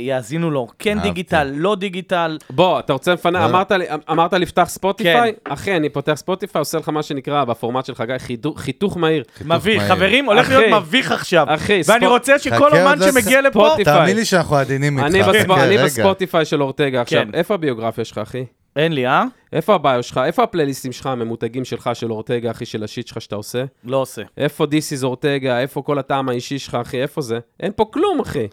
יאזינו לו. כן אהבתי. דיגיטל, לא דיגיטל, בוא, אתה רוצה לפני, לא. אמרת לי- אמ-, אמרת לפתח ספוטיפיי? אחי, אני פותח ספוטיפיי, עושה לך מה שנקרא, בפורמט של חגי, חידו- חיתוך מהיר. מביך. מהיר. חברים, הולך אחי. להיות מביך עכשיו. אחי, ואני ספוט- רוצה שכל חכה, אומן עוד לא שמגיע לפה... ספוטיפיי. תאמין לי שאנחנו עדינים איתך. אני בספ- חכה, אני כן, רגע. בספוטיפיי של אורטגה עכשיו. כן. איפה הביוגרפיה שלך, אחי? אין לי, אה? איפה הביו שלך? איפה הפלייליסטים שלך, הממותגים שלך, של אורטגה, אחי, של השיט שלך שאתה עושה? לא עושה. איפה This is אורטגה? איפה כל הטעם האישי שלך, אחי? איפה זה? אין פה כלום, אחי.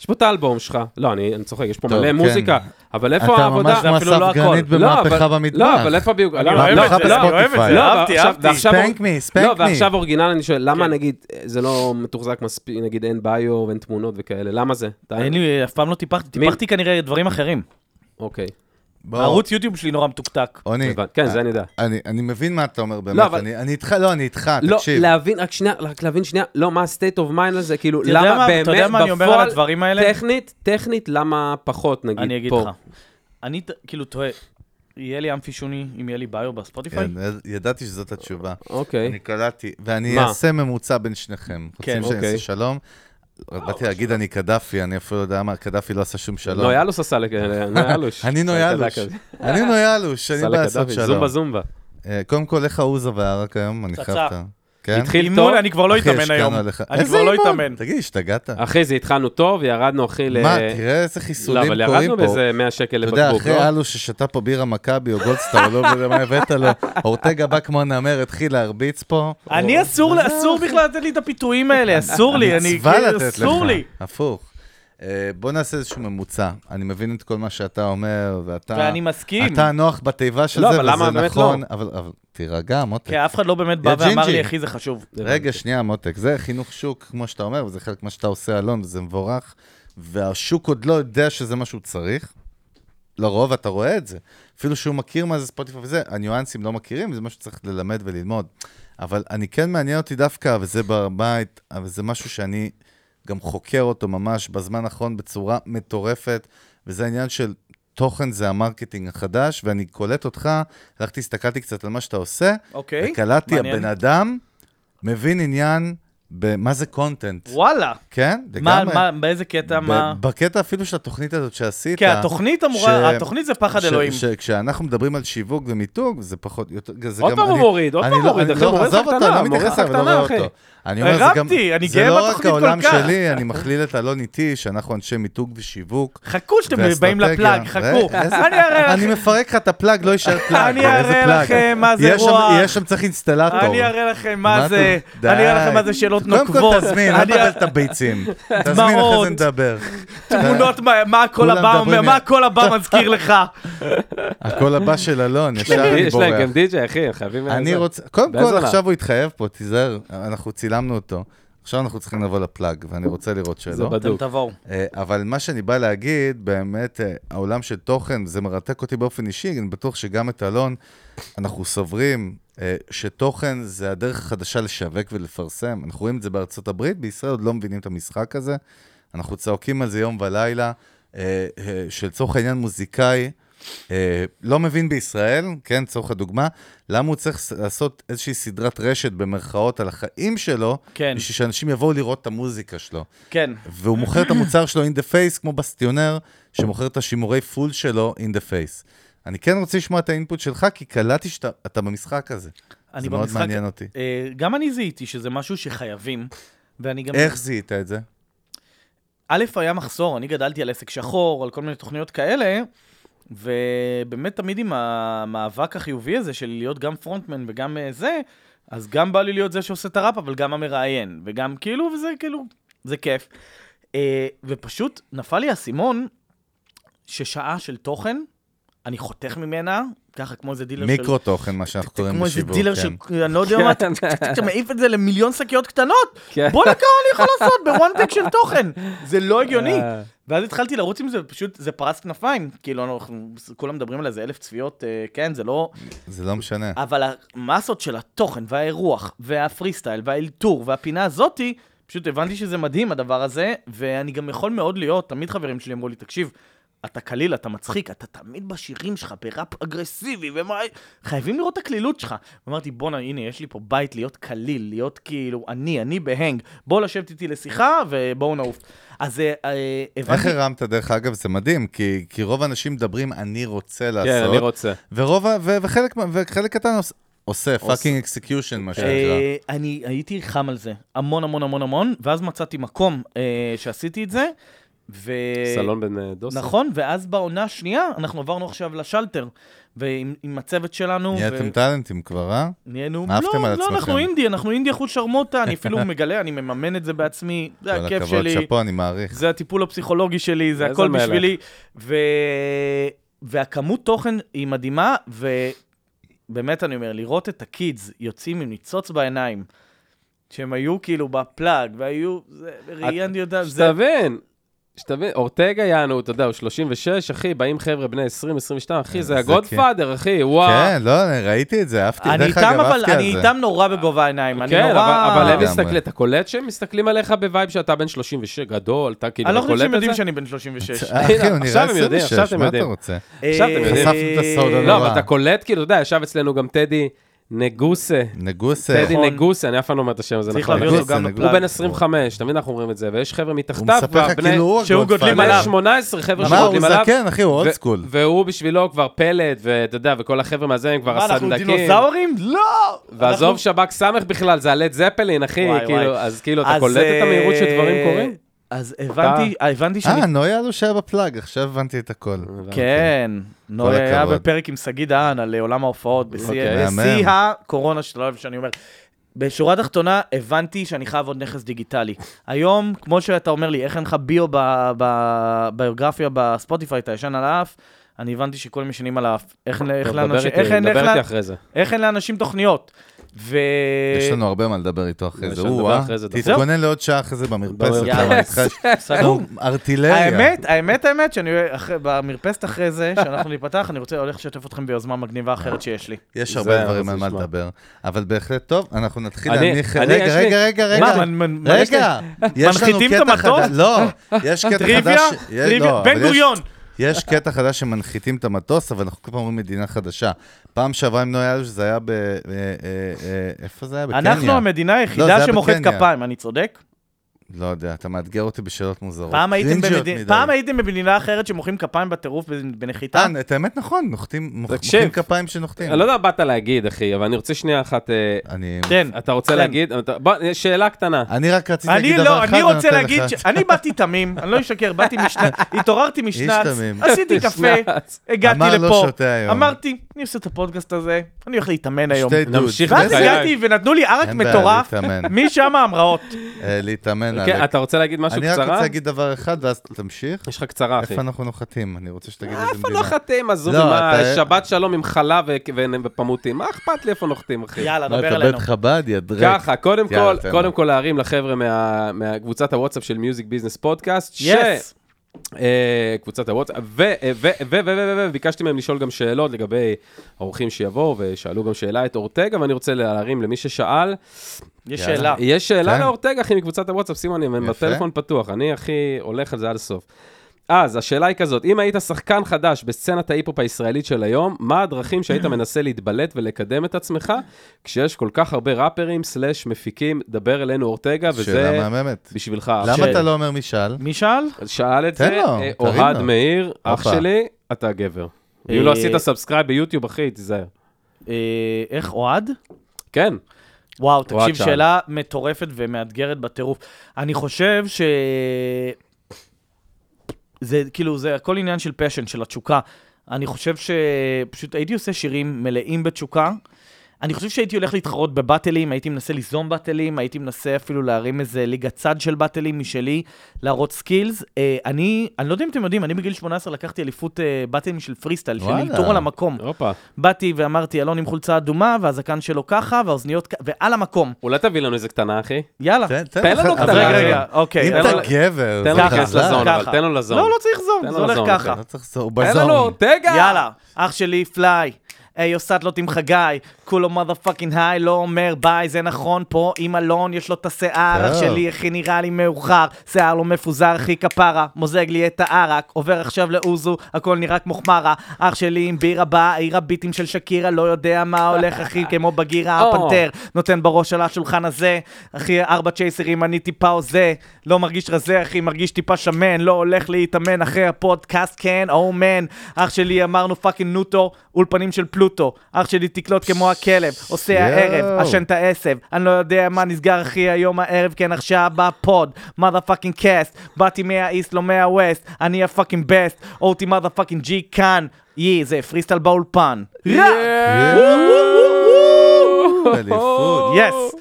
יש פה את האלבום שלך. לא, אני אני צוחק, יש פה טוב, מלא כן. מוזיקה. אבל איפה אתה העבודה? ממש כמו אפילו לא אסף הכל. גרנית לא, במהפכה אבל- במטבח. לא, אבל איפה ביוגרפיה? אני אוהב את זה, אני אוהב את זה, לא, אהבתי, ועכשיו- אהבתי. ועכשיו- ספנק מי, ספנק לא, מי. ועכשיו אורגינל, אני שואל, כן. למה נגיד אה, זה לא מתוחזק מספיק, נגיד אין ביו ואין תמונות וכאלה? למה זה? אתה- אין לי, אף פעם לא טיפחתי, מי- טיפחתי כנראה דברים אחרים. אוקיי. בוא, הערוץ יוטיוב שלי נורא מתוקתק. עוני, אה, הבנ- כן, זה אני יודע. אני אני מבין מה אתה אומר באמת. לא, אבל- אני אני איתך, לא, אני איתך, לא, תקשיב. להבין, רק שנייה, רק להבין שנייה, לא, מה ה-state of mind הזה, כאילו, אתה יודע למה מה- באמת, אתה יודע מה אני אומר על בפועל, הדברים האלה? טכנית, טכנית, למה פחות, נגיד, פה. אני אגיד לך. אני ת- כאילו תוהה, יהיה לי עם פישוני אם יהיה לי ביו בספוטיפיי? כן, ידעתי שזאת התשובה. אני אוקיי. קלטתי, ואני מה? אעשה ממוצע בין שניכם. כן, רוצים שאני אוקיי. אעשה שלום? באתי להגיד אני קדאפי, אני אפילו לא יודע מה, קדאפי לא עשה שום שלום. נויאלוס עשה אה, לכאלה, נויאלוש. אני נויאלוש. כזה, כזה. אני נויאלוש, אני עשה בא לעשות לקדאפי, שלום. זומבה זומבה. אה, קודם כל, איך העוזה והערק היום? אני פצצה. חייב את ה... כן? התחיל טוב, אימון, אני כבר לא אחי, אתאמן השקענו היום. עליך. אני איזה כבר לא אימון? אתאמן. תגיד, השתגעת? אחרי זה התחלנו טוב, ירדנו אחי ל... מה, תראה איזה לא, חיסולים אבל קורים ירדנו פה. באיזה 100 שקל אתה יודע, לבקבוק, אחרי לא? הלו ששתה פה בירה מכבי או גולדסטאר, לא יודע מה הבאת לו, אורטגה בא כמו נמר, התחיל להרביץ פה. אני אסור, לי- אסור בכלל לתת לי את הפיתויים האלה, אסור לי, אני, מצווה כאילו, לתת לך. אסור לי. הפוך. אה, בוא נעשה איזשהו ממוצע. אני מבין את כל מה שאתה אומר, ואתה... ואני מסכים. אתה נוח בתיבה של לא, זה, אבל למה וזה באמת נכון. אבל אבל תירגע, מותק. כי אף אחד לא באמת בא יא ואמר לי, ג'ינג'י. אחי, זה חשוב. רגע, שנייה, מותק. זה חינוך שוק, כמו שאתה אומר, וזה חלק מה שאתה עושה, אלון, וזה מבורך. והשוק עוד לא יודע שזה מה שהוא צריך. לרוב אתה רואה את זה. אפילו שהוא מכיר מה זה ספוטיפיי וזה, הניואנסים לא מכירים, זה מה שצריך ללמד וללמוד. אבל אני כן מעניין אותי דווקא, וזה בבית, אבל זה משהו שאני גם חוקר אותו ממש בזמן האחרון בצורה מטורפת, וזה העניין של תוכן זה המרקטינג החדש, ואני קולט אותך, הלכתי, הסתכלתי קצת על מה שאתה עושה, אוקיי, וקלטתי, מעניין. הבן אדם מבין עניין במה זה קונטנט. וואלה. כן, מה, לגמרי. מה, באיזה קטע, מה... ב- בקטע אפילו של התוכנית הזאת שעשית. כי התוכנית אמורה, ש- התוכנית זה פחד אלוהים. כשאנחנו מדברים על שיווק ומיתוג, זה פחות, יותר, זה עוד גם... פעם הוא אני- מוריד, עוד אני פעם לא- מוריד, אני אחי, לא- מוריד עזוב לך אותו, אני קטנה, לא מוריד לך מתייחס אליו, אני לא קטנה, רואה אחי. אותו. אני אומר, זה גם... הרמתי, אני זה גאה לא רק בתוכנית כל העולם כך. שלי, אני מכליל את אלון איתי, שאנחנו אנשי מיתוג ושיווק. חכו שאתם ואסטרטגיה. באים לפלאג, חכו. רגע, איזה- אני אראה אני לכם- מפרק לך את הפלאג, לא יישאר פלאג. אני אראה איזה פלאג? לכם מה זה יהיה שם- רוח. יהיה שם צריך אינסטלטור. אני אראה לכם מה אתה- זה, די. אני אראה לכם מה זה שאלות קודם נוקבות. כל תזמין, אל אני- תקבל את הביצים. תזמין, אחרי דמעות. זה נדבר. תמונות, מה- מה הכל כולם הבא אומר, מדברים- מה הכל הבא מזכיר לך. הקול הבא של אלון, ישר אני יש להם בורח. גם די.ג'יי, אחי, הם חייבים... אני לעזור. רוצה, קודם באיזה כל, עונה? עכשיו הוא התחייב פה, תיזהר, אנחנו צילמנו אותו. עכשיו אנחנו צריכים לבוא לפלאג, ואני רוצה לראות זה שלא. אתם בדוק. תבואו. אה, אבל מה שאני בא להגיד, באמת, אה, העולם של תוכן, זה מרתק אותי באופן אישי, אני בטוח שגם את אלון, אנחנו סוברים אה, שתוכן זה הדרך החדשה לשווק ולפרסם. אנחנו רואים את זה בארצות הברית, בישראל עוד לא מבינים את המשחק הזה. אנחנו צועקים על זה יום ולילה, אה, אה, שלצורך העניין מוזיקאי, אה, לא מבין בישראל, כן, לצורך הדוגמה, למה הוא צריך ס- לעשות איזושהי סדרת רשת במרכאות על החיים שלו, כן. בשביל שאנשים יבואו לראות את המוזיקה שלו. כן. והוא מוכר את המוצר שלו in the face, כמו בסטיונר, שמוכר את השימורי פול שלו in the face. אני כן רוצה לשמוע את האינפוט שלך, כי קלטתי שאתה אתה במשחק הזה. אני זה מאוד במשחק- מעניין אותי. אה, גם אני זיהיתי שזה משהו שחייבים, ואני גם... איך זיהית את זה? לא, א', היה מחסור, אני גדלתי על עסק שחור, על כל מיני תוכניות כאלה, ובאמת תמיד עם המאבק החיובי הזה של להיות גם פרונטמן וגם אה, זה, אז גם בא לי להיות זה שעושה את הראפ, אבל גם המראיין, וגם כאילו, וזה כאילו, זה כיף. אה, ופשוט נפל לי האסימון ששעה של תוכן, אני חותך ממנה, ככה כמו איזה דילר של... מיקרו תוכן, מה שאנחנו קוראים לא. כמו איזה בשיווק, דילר כן. של, אני לא יודע מה, אתה כן. אתה מעיף את זה למיליון שקיות קטנות. כן. בואנה כמה אני יכול לעשות בוואן טק של תוכן. זה לא הגיוני. אה. ואז התחלתי לרוץ עם זה, פשוט זה פרס כנפיים. כאילו, אנחנו כולם מדברים על איזה אלף צפיות, אה, כן, זה לא... זה לא משנה. אבל המסות של התוכן והאירוח והפרי סטייל והאלתור והפינה הזאתי, פשוט הבנתי שזה מדהים הדבר הזה, ואני גם יכול מאוד להיות, תמיד חברים שלי אמרו לי, תקשיב, אתה קליל, אתה מצחיק, אתה תמיד בשירים שלך בראפ אגרסיבי, ומה... חייבים לראות את הקלילות שלך. אמרתי, בואנה, הנה, יש לי פה בית להיות קליל, להיות כאילו, אני, אני בהנג, בוא לשבת איתי לשיחה ובואו נעוף. אז אה, אה, הבנתי... איך הרמת, דרך אגב, זה מדהים, כי, כי רוב האנשים מדברים, אני רוצה לעשות, כן, אני רוצה. ורוב, ה- ו, וחלק, מה- וחלק קטן עוש- עושה עושה. פאקינג אקסקיושן, מה שנקרא. אה, אני הייתי חם על זה, המון המון המון המון, ואז מצאתי מקום אה, שעשיתי את זה, ו... סלון בן אה, דוסה. נכון, ואז בעונה השנייה, אנחנו עברנו עכשיו לשלטר, ועם עם הצוות שלנו, נהייתם טאלנטים כבר, אה? נהיינו... עפתם לא, על לא, עצמכם. אנחנו אינדי, אנחנו אינדי אחוז שרמוטה, אני אפילו מגלה, אני מממן את זה בעצמי, זה כל הכיף הכבוד, שלי. שאפו, אני מעריך. זה הטיפול הפסיכולוגי שלי, זה איזה הכל מלך. בשבילי. ו... והכמות תוכן היא מדהימה, ובאמת אני אומר, לראות את הקידס יוצאים עם ניצוץ בעיניים, שהם היו כאילו בפלאג, והיו, זה, ראיינתי אותם, זה... שתבין, שתבין, אורטגה יענו, אתה יודע, הוא 36, אחי, באים חבר'ה בני 20, 22, אחי, זה אה, זה הגודפאדר, אחי, וואו. כן, לא, אני ראיתי את זה, אהבתי. אני דרך איתם, אגב, אבל עפתי על אני זה. איתם נורא בגובה העיניים, אני כן, נורא... אבל אבל הם לגמרי. מסתכלים, אתה קולט שהם מסתכלים עליך בווייב שאתה בן 36, גדול, אתה כאילו, אני אתה לא חושב קולט שהם יודעים את זה? שאני בן 36. אה, אחי, הוא נראה עכשיו הם יודעים, 26, עכשיו אתם מה אתה יודעים. רוצה? עכשיו אתם יודעים. חשפנו את הסוד אה, הנורא. לא, אבל אתה קולט, כאילו, אתה יודע, ישב אצלנו גם טדי נגוסה. נגוסה. טדי נכון. נגוסה, אני אף פעם לא אומר את השם הזה, צריך נכון. להביא אותו נגוסה, גם נגוסה. הוא בפלאג. בן 25, תמיד אנחנו אומרים את זה, ויש חבר'ה הוא מתחתיו מספר כבר, לך בני... כאילו הוא שהוא הגודפאדר. גודלים מלא עליו. 18 חבר'ה מה, הוא שגודלים עליו. זקן, אחי, הוא אולד ו- סקול. והוא בשבילו כבר פלט, ואתה יודע, וכל החבר'ה מהזה הם כבר מה, אנחנו הסנדקים. דינוזאורים? לא! ועזוב שב"כ סמך בכלל, זה הלד זפלין, אחי, וואי, כאילו, וואי. אז כאילו, אתה אז, קולט את המהירות אה, שדברים קורים? אז הבנתי, הבנתי שאני... אה, נויה לו שהיה בפלאג, עכשיו הבנתי את הכל. אה, כן, נוי כל היה הכבוד. בפרק עם שגיא דהן על אה, עולם ההופעות בשיא אוקיי. מהמם. בשיא הקורונה שאתה לא אוהב שאני אומר. בשורה התחתונה, הבנתי שאני חייב עוד נכס דיגיטלי. היום, כמו שאתה אומר לי, איך אין לך ביו ב- ב- ביוגרפיה בספוטיפיי, אתה ישן על האף, אני הבנתי שכולם ישנים על האף. איך אין- איך טוב, דבר לאנשים- איתי, איך אין- איך דבר איתי לא- אחרי זה. איך אין לאנשים תוכניות? ו... יש לנו הרבה מה לדבר איתו אחרי יש זה. לנו הוא, לדבר אה, אחרי זה, דבר. תתכונן לעוד שעה אחרי זה במרפסת. יאללה. למה? אני צריכה- סגור. ארטילריה. האמת, האמת, האמת, שאני אחרי- במרפסת אחרי זה, שאנחנו ניפתח, אני רוצה, הולך לשתף אתכם ביוזמה מגניבה אחרת שיש לי. יש זה, הרבה דברים זה על מה נשמע. לדבר, אבל בהחלט טוב, אנחנו נתחיל אני- להניח... אני, יש רגע, לי- רגע, רגע, רגע. מה, מנ- מנ- יש לי- רגע, יש לנו מנחיתים את קטע המטוס? חדש. לא, יש קטע חדש... טריוויה? ש- יש- טריוויה. לא, אבל בן יש- גוריון. יש קטע חדש שמנחיתים את המטוס, אבל אנחנו כל פעם אומרים מדינה חדשה. פעם שעברה עם נויה אלוש, זה היה ב... אה, אה, אה, איפה זה היה? בקניה. אנחנו המדינה לא, זה היחידה היה שמוחאת בקניה. כפיים, אני צודק? לא יודע, אתה מאתגר אותי בשאלות מוזרות. פעם הייתם קרינג'יות במדינה- מדי. פעם הייתם במדינה אחרת שמוחאים כפיים בטירוף בנ- בנחיתה? אה, את האמת נכון, נוחתים, מוח- תקשיב. מוחאים כפיים שנוחתים. אני לא יודע מה באת להגיד, אחי, אבל אני רוצה שנייה אחת... אה, אני... כן. אתה רוצה כן. להגיד? אתה- בוא, אה, שאלה קטנה. אני רק רציתי להגיד אני דבר לא, אחד, אני רוצה ונותן להגיד, לך. ש- אני באתי תמים, אני לא אשקר, באתי משנץ, התעוררתי משנץ, תמים. עשיתי קפה, משנץ. הגעתי אמר לא לפה, שותה היום. אמרתי, אני עושה את הפודקאסט הזה, אני הולך להתאמן היום. שתי דוד. נמשיך ואז בחיי. הגעתי ונתנו לי ערק אין בעיה, מטורף, להתאמן. משם המראות. אה, להתאמן כן, עלק. אתה רוצה להגיד משהו אני רק רוצה קצרה? להגיד דבר אחד, ואז תמשיך. יש לך קצרה, אחי. אה, איפה אנחנו נוחתים? אני רוצה שתגיד איזה איפה מדינה. נוחתים, עזוב, לא, מה, אתה- שבת שלום עם חלה ו- ו- ופמוטים, מה אכפת לי איפה נוחתים, אחי? יאללה, מה, דבר לא, אתה אלינו. בית חב"ד, ידרק. ככה, קודם יאללה, כל, תן קודם לו. כל להרים לחבר'ה מה- מהקבוצת הוואטסאפ של מיוזיק ביזנס פודקאסט, ש... יס. אה, קבוצת הוואטסאפ, ו- ו- ו- ו- ו- ו- ו- וביקשתי מהם לשאול גם שאלות לגבי האורחים שיבואו, ושאלו גם שאלה את אורטגה, ואני רוצה להרים למי ששאל. יש יאללה. שאלה. אה, יש שאלה כן. לאורטגה, אחי, מקבוצת הוואטסאפ, סימון, אני יפה. בטלפון פתוח, אני, אחי, הולך על זה עד הסוף. אז השאלה היא כזאת, אם היית שחקן חדש בסצנת ההיפ-הופ הישראלית של היום, מה הדרכים שהיית מנסה להתבלט ולקדם את עצמך, כשיש כל כך הרבה ראפרים סלאש מפיקים, דבר אלינו אורטגה, וזה שאלה מהממת. בשבילך. אח למה שלי. אתה לא אומר משאל? מי שאל? אז שאל את תן זה, לו, אה, תרים אוהד לו. מאיר, אח הופה. שלי, אתה גבר. אה, אם לא עשית סאבסקרייב ביוטיוב, אחי, תיזהר. אה, איך, אוהד? כן, וואו, אוהד תקשיב, שאל. שאלה מטורפת ומאתגרת בטירוף. אני חושב ש... זה כאילו, זה הכל עניין של פשן, של התשוקה. אני חושב שפשוט הייתי עושה שירים מלאים בתשוקה. אני חושב שהייתי הולך להתחרות בבאטלים, הייתי מנסה ליזום באטלים, הייתי מנסה אפילו להרים איזה ליגת צד של באטלים משלי, להראות סקילס. אה, אני, אני לא יודע אם אתם יודעים, אני בגיל 18 לקחתי אליפות אה, באטלים של פרי סטייל, של וואלה. אלתור על המקום. הופה. באתי ואמרתי, אלון עם חולצה אדומה, והזקן שלו ככה, והאוזניות ככה, ועל המקום. אולי לא תביא לנו איזה קטנה, אחי. יאללה. תן- תן כן, תן לך- לנו אבל קטנה. אז רגע, תן רגע, אוקיי. אם תן אתה לו- גבר, זה תן לו להיכנס חזק. לזון, ככה. אבל תן לו לזון. לא, לא צריך תן זון, לו זה הולך לזון, אוקיי. ככה. לא צריך לזון, הוא תן לנו, בזון. תגע! יאללה, אח שלי פליי. היי, עושה תלותים חגי, כולו מודה פאקינג היי, לא אומר ביי, זה נכון פה, עם אלון יש לו את השיער, אח טוב. שלי, איך נראה לי מאוחר, שיער לא מפוזר, אחי כפרה, מוזג לי את הערק, עובר עכשיו לאוזו, הכל נראה כמו חמרה, אח שלי עם בירה בעיר הביטים של שקירה, לא יודע מה הולך, אחי, כמו בגירה, או. הפנתר, נותן בראש על השולחן הזה, אחי, ארבע צ'ייסרים, אני טיפה הוזה, לא מרגיש רזה, אחי, מרגיש טיפה שמן, לא הולך להתאמן אחרי הפודקאסט, כן, או מן. אח שלי, אמרנו פאקינג נוטו, אולפנים של פלוטו. אח שלי, תקלוט כמו הכלב, עושה יואו. הערב, עשן את העשב, אני לא יודע מה נסגר, אחי, היום הערב, כן, עכשיו בפוד, mother פאקינג קאסט, באתי מהאיסט, לא מהווסט, אני הפאקינג בסט, אותי mother פאקינג ג'י כאן, יי, זה פריסטל באולפן. אליפות. יס.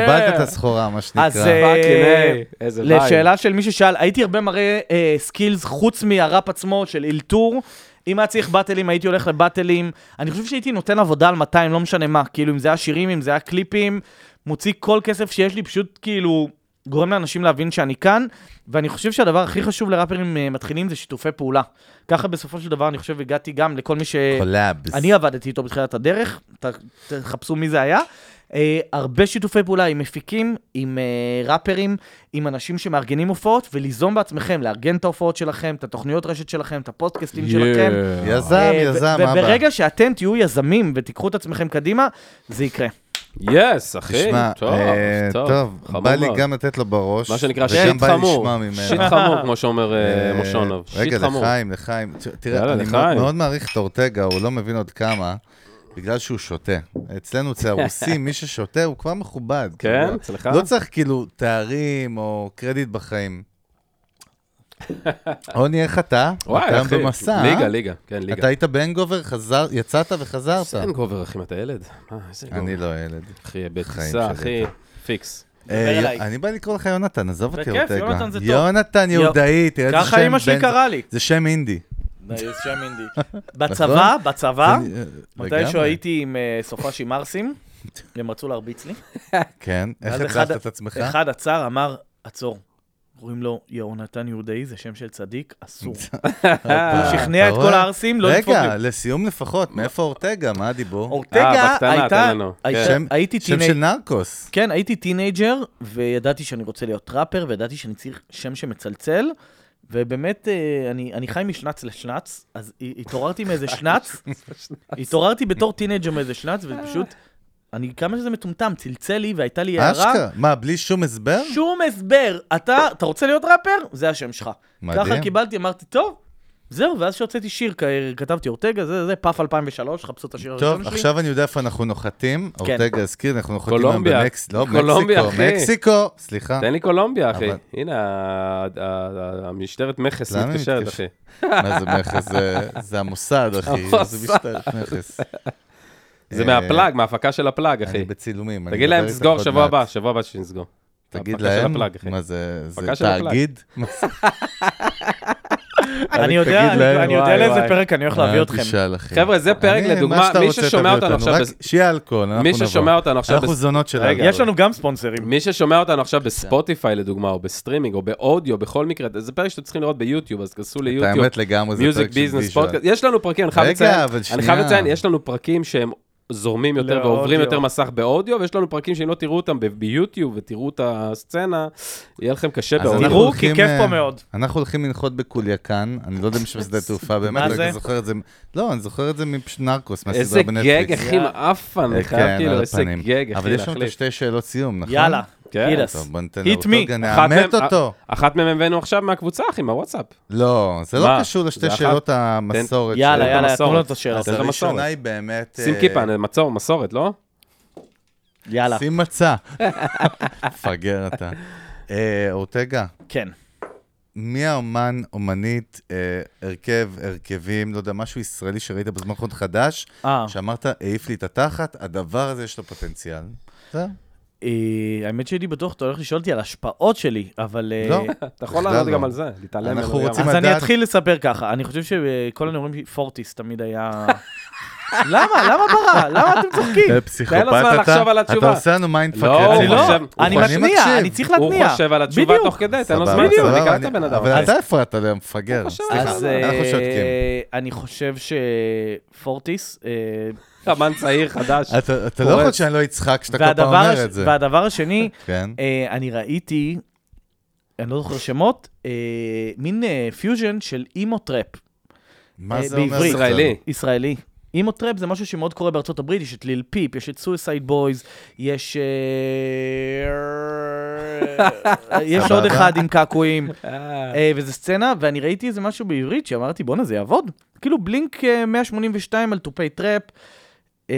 קיבלת את הסחורה, מה אז שנקרא. אה, פאקינג, אה, איזה וייב. לשאלה של מי ששאל, הייתי הרבה מראה אה, סקילס חוץ מהראפ עצמו של אלתור. אם היה צריך באטלים, הייתי הולך לבאטלים. אני חושב שהייתי נותן עבודה על 200, לא משנה מה. כאילו, אם זה היה שירים, אם זה היה קליפים, מוציא כל כסף שיש לי, פשוט כאילו גורם לאנשים להבין שאני כאן. ואני חושב שהדבר הכי חשוב לראפרים אה, מתחילים זה שיתופי פעולה. ככה בסופו של דבר, אני חושב, הגעתי גם לכל מי ש... קולאבס. אני עבדתי איתו בתחילת הדרך, ת- תחפשו מי זה היה. אה, הרבה שיתופי פעולה עם מפיקים, עם אה, ראפרים, עם אנשים שמארגנים הופעות, וליזום בעצמכם, לארגן את ההופעות שלכם, את התוכניות רשת שלכם, את הפודקאסטים שלכם. יזם, אה, ו- יזם, אבא. וברגע שאתם תהיו יזמים ותיקחו את עצמכם קדימה, זה יקרה. יס, אחי. תשמע, טוב, אה, טוב, חמור בא לי מאוד. גם לתת לו בראש. מה שנקרא וגם שיט בא לי חמור. לשמוע ממנו. שיט חמור, כמו שאומר אה, אה, מושונוב. שיט רגע, חמור. לחיים, לחיים. ת- תראה, יאללה, אני לחיים. מאוד- מאוד מעריך את אורטגה, הוא לא מבין עוד כמה, בגלל שהוא שותה. אצלנו, אצל הרוסים, מי ששותה הוא כבר מכובד. כן? כאילו. אצלך? לא צריך כאילו תארים או קרדיט בחיים. רוני, איך אתה? וואי, אתה היום אחי. במסע, אה? ליגה, ליגה. כן, ליגה. אתה היית בהנגובר, חזר- יצאת וחזרת. אין גובר, אחי, אם אתה ילד. מה, איזה אני גובר. לא ילד. אחי, שלי, בטיסה, אחי, פיקס. אה, אליי. אני בא לקרוא לך יונתן, עזוב אותי, בכיף, אורטגה. יונתן זה טוב. יונתן יהודאי, תראה איזה שם ככה אמא שלי בן- קראה לי. זה שם אינדי. אה, בצבא, בצבא, זה- אה, מתישהו לגמרי. הייתי עם אה, סופאשי מרסים, הם רצו להרביץ לי. כן, איך ואז הצלחת אחד- את עצמך? אחד עצר, אמר, עצור. קוראים לו יהונתן יהודאי, זה שם של צדיק, אסור. אה, הוא שכנע אתה את כל רואה? הערסים לא לדפוק רגע, לי. לסיום לפחות, מאיפה אורטגה? מה הדיבור? אורטגה בקטנה, הייתה... תן לנו. הייתה- שם- הייתי כן. שם טינג- של נרקוס. כן, הייתי טינג'ר, וידעתי שאני רוצה להיות ראפר, וידעתי שאני צריך שם שמצלצל, ובאמת, אה, אני אני חי משנץ לשנץ, אז ה- התעוררתי מאיזה שנץ, התעוררתי בתור טינג'ר מאיזה שנץ, ופשוט, אני, כמה שזה מטומטם, צלצל לי והייתה לי הערה. אשכרה. מה, בלי שום הסבר? כן. שום הסבר. אתה, אתה רוצה להיות ראפר? זה השם שלך. מדהים. ככה קיבלתי, אמרתי, טוב, זהו, ואז שהוצאתי שיר, כ- כתבתי אורטגה, זה, זה, פאף 2003, חפשו את השיר הראשון טוב, שלי. כן. עכשיו אני יודע איפה אנחנו נוחתים. אורטגה הזכיר, אנחנו נוחתים היום קולומביה. במקסיקו. לא, קולומביה, מקסיקו, אחי. מקסיקו, סליחה. תן לי קולומביה, אחי. אבל- הנה, ה- ה- ה- המשטרת מכס למה היא מתקשרת, אחי. מתקשרת? מה זה מכס? זה- זה המוסד, אחי. זה משטרת מכס. זה אה, מהפלאג, מההפקה של הפלאג, אני אחי. בצילומים. אני תגיד להם, מדבר איתך תסגור עוד שבוע מעט. הבא, שבוע הבא שנסגור. תגיד ההפקה של להם, הפלאג, אחי. מה זה, זה הפקה של הפלאג. תאגיד? מה זה? אני יודע, תגיד להם. אה, אני, אני יודע וואי, לאיזה וואי. פרק אני הולך אל להביא אתכם. תשאל, אחי. חבר'ה, זה פרק, אני- לדוגמה, מה שאתה מי רוצה, תביא ששומע אותנו עכשיו רק בס- שיהיה אלכוהול, אנחנו נבוא. מי ששומע אותנו עכשיו אנחנו בס- זונות של רגע, אלכוהול. יש לנו גם נכון. ספונסרים. מי ששומע אותנו עכשיו בספוטיפיי, לדוגמה, או בסטרימינג, או באודיו, בכל מקרה, זה פרק שאתם צריכים לראות ביוטיוב, אז כנסו את ליוטיוב. האמת לגמרי, זה פרק של מיוזיק ביזנס ויז'ואל. פודקאסט, יש לנו פרקים, אני חייב רגע, לציין, אבל אני שנייה. חייב לציין, יש לנו פרקים שהם זורמים יותר לאודיו. ועוברים יותר מסך באודיו, ויש לנו פרקים שאם לא תראו אותם ב- ביוטיוב ותראו את הסצנה, יהיה לכם קשה אז אנחנו באודיו. תראו, כי הולכים, כיף אה, פה מאוד. אנחנו הולכים לנחות בקוליאקן, אני לא יודע אם שבשדה תעופה, באמת, מה לא, זה? אני זוכר את זה, לא, אני זוכר את זה מפשנרקוס, איזה מהסדרה גג, בנטפליקס. אחי, מעפן, אני אה, חייב על כאילו, איזה הפנים. גג, אבל אחי, יש לנו את להחליף. שתי שאלות סיום, נכון? יאללה, כן. אילס. טוב, בוא ניתן Hit me. לאורטוגה, אחת נעמת מהם- אה, אותו. אחת מהם הבאנו עכשיו מהקבוצה, אחי, מהוואטסאפ. לא, זה לא מה? קשור לשתי זה אחת? שאלות המסורת. יאללה, את יאללה, המסורת. תנו לנו את השאלה. אז זה המסורת. הראשונה היא באמת... שים אה, כיפה, נ- מצור, מסורת, לא? יאללה, שים מצה. מפגר אתה. אה, אורטגה, כן. מי האומן, אומנית, אה, הרכב, הרכבים, לא יודע, משהו ישראלי שראית בזמן האחרון חדש, אה. שאמרת, העיף לי את התחת, הדבר הזה יש לו פוטנציאל. זהו. אה, האמת שהייתי בטוח, אתה הולך לשאול אותי על השפעות שלי, אבל... אה, לא. אתה יכול בכלל לענות לא. גם על זה, להתעלם ממנו. אנחנו גם. רוצים- אז אני לדעת- אתחיל לספר ככה, אני חושב שכל הנאומים פורטיס תמיד היה... למה? למה ברע? למה אתם צוחקים? אה, פסיכופת תן לו זמן אתה? לחשוב על אתה התשובה. עושה לנו מיינד לא, הוא אני לא, חושב- אני מתניע, אני צריך הוא להתניע. חושב על התשובה בדיוק. תוך כדי, תן לו זמן, סבבה, אתה סבבה, מכיר את אני- הבן אדם. לא, אבל אז- אתה הפרעת להם, מפגר. הוא חושב סליחה, על אז אה, אנחנו שותקים. אני חושב שפורטיס, אה, אמן צעיר חדש. אתה אתה לא יכול פורץ. שאני לא אצחק כשאתה כל פעם והדבר הש- אומר את זה. והדבר השני, כן. אה, אני ראיתי, אני לא זוכר שמות, אה, מין אה, פיוז'ן של אימו טראפ. מה אה, זה אומר? בעברית. בכלל? ישראלי. ישראלי. אימו טראפ זה משהו שמאוד קורה בארצות הברית, יש את ליל פיפ, יש את סויסייד בויז, יש... אה, יש עוד סבבה. אחד עם קעקועים, אה, אה, וזו סצנה, ואני ראיתי איזה משהו בעברית שאמרתי, בואנה, זה יעבוד. כאילו בלינק אה, 182 על תופי טראפ. אה,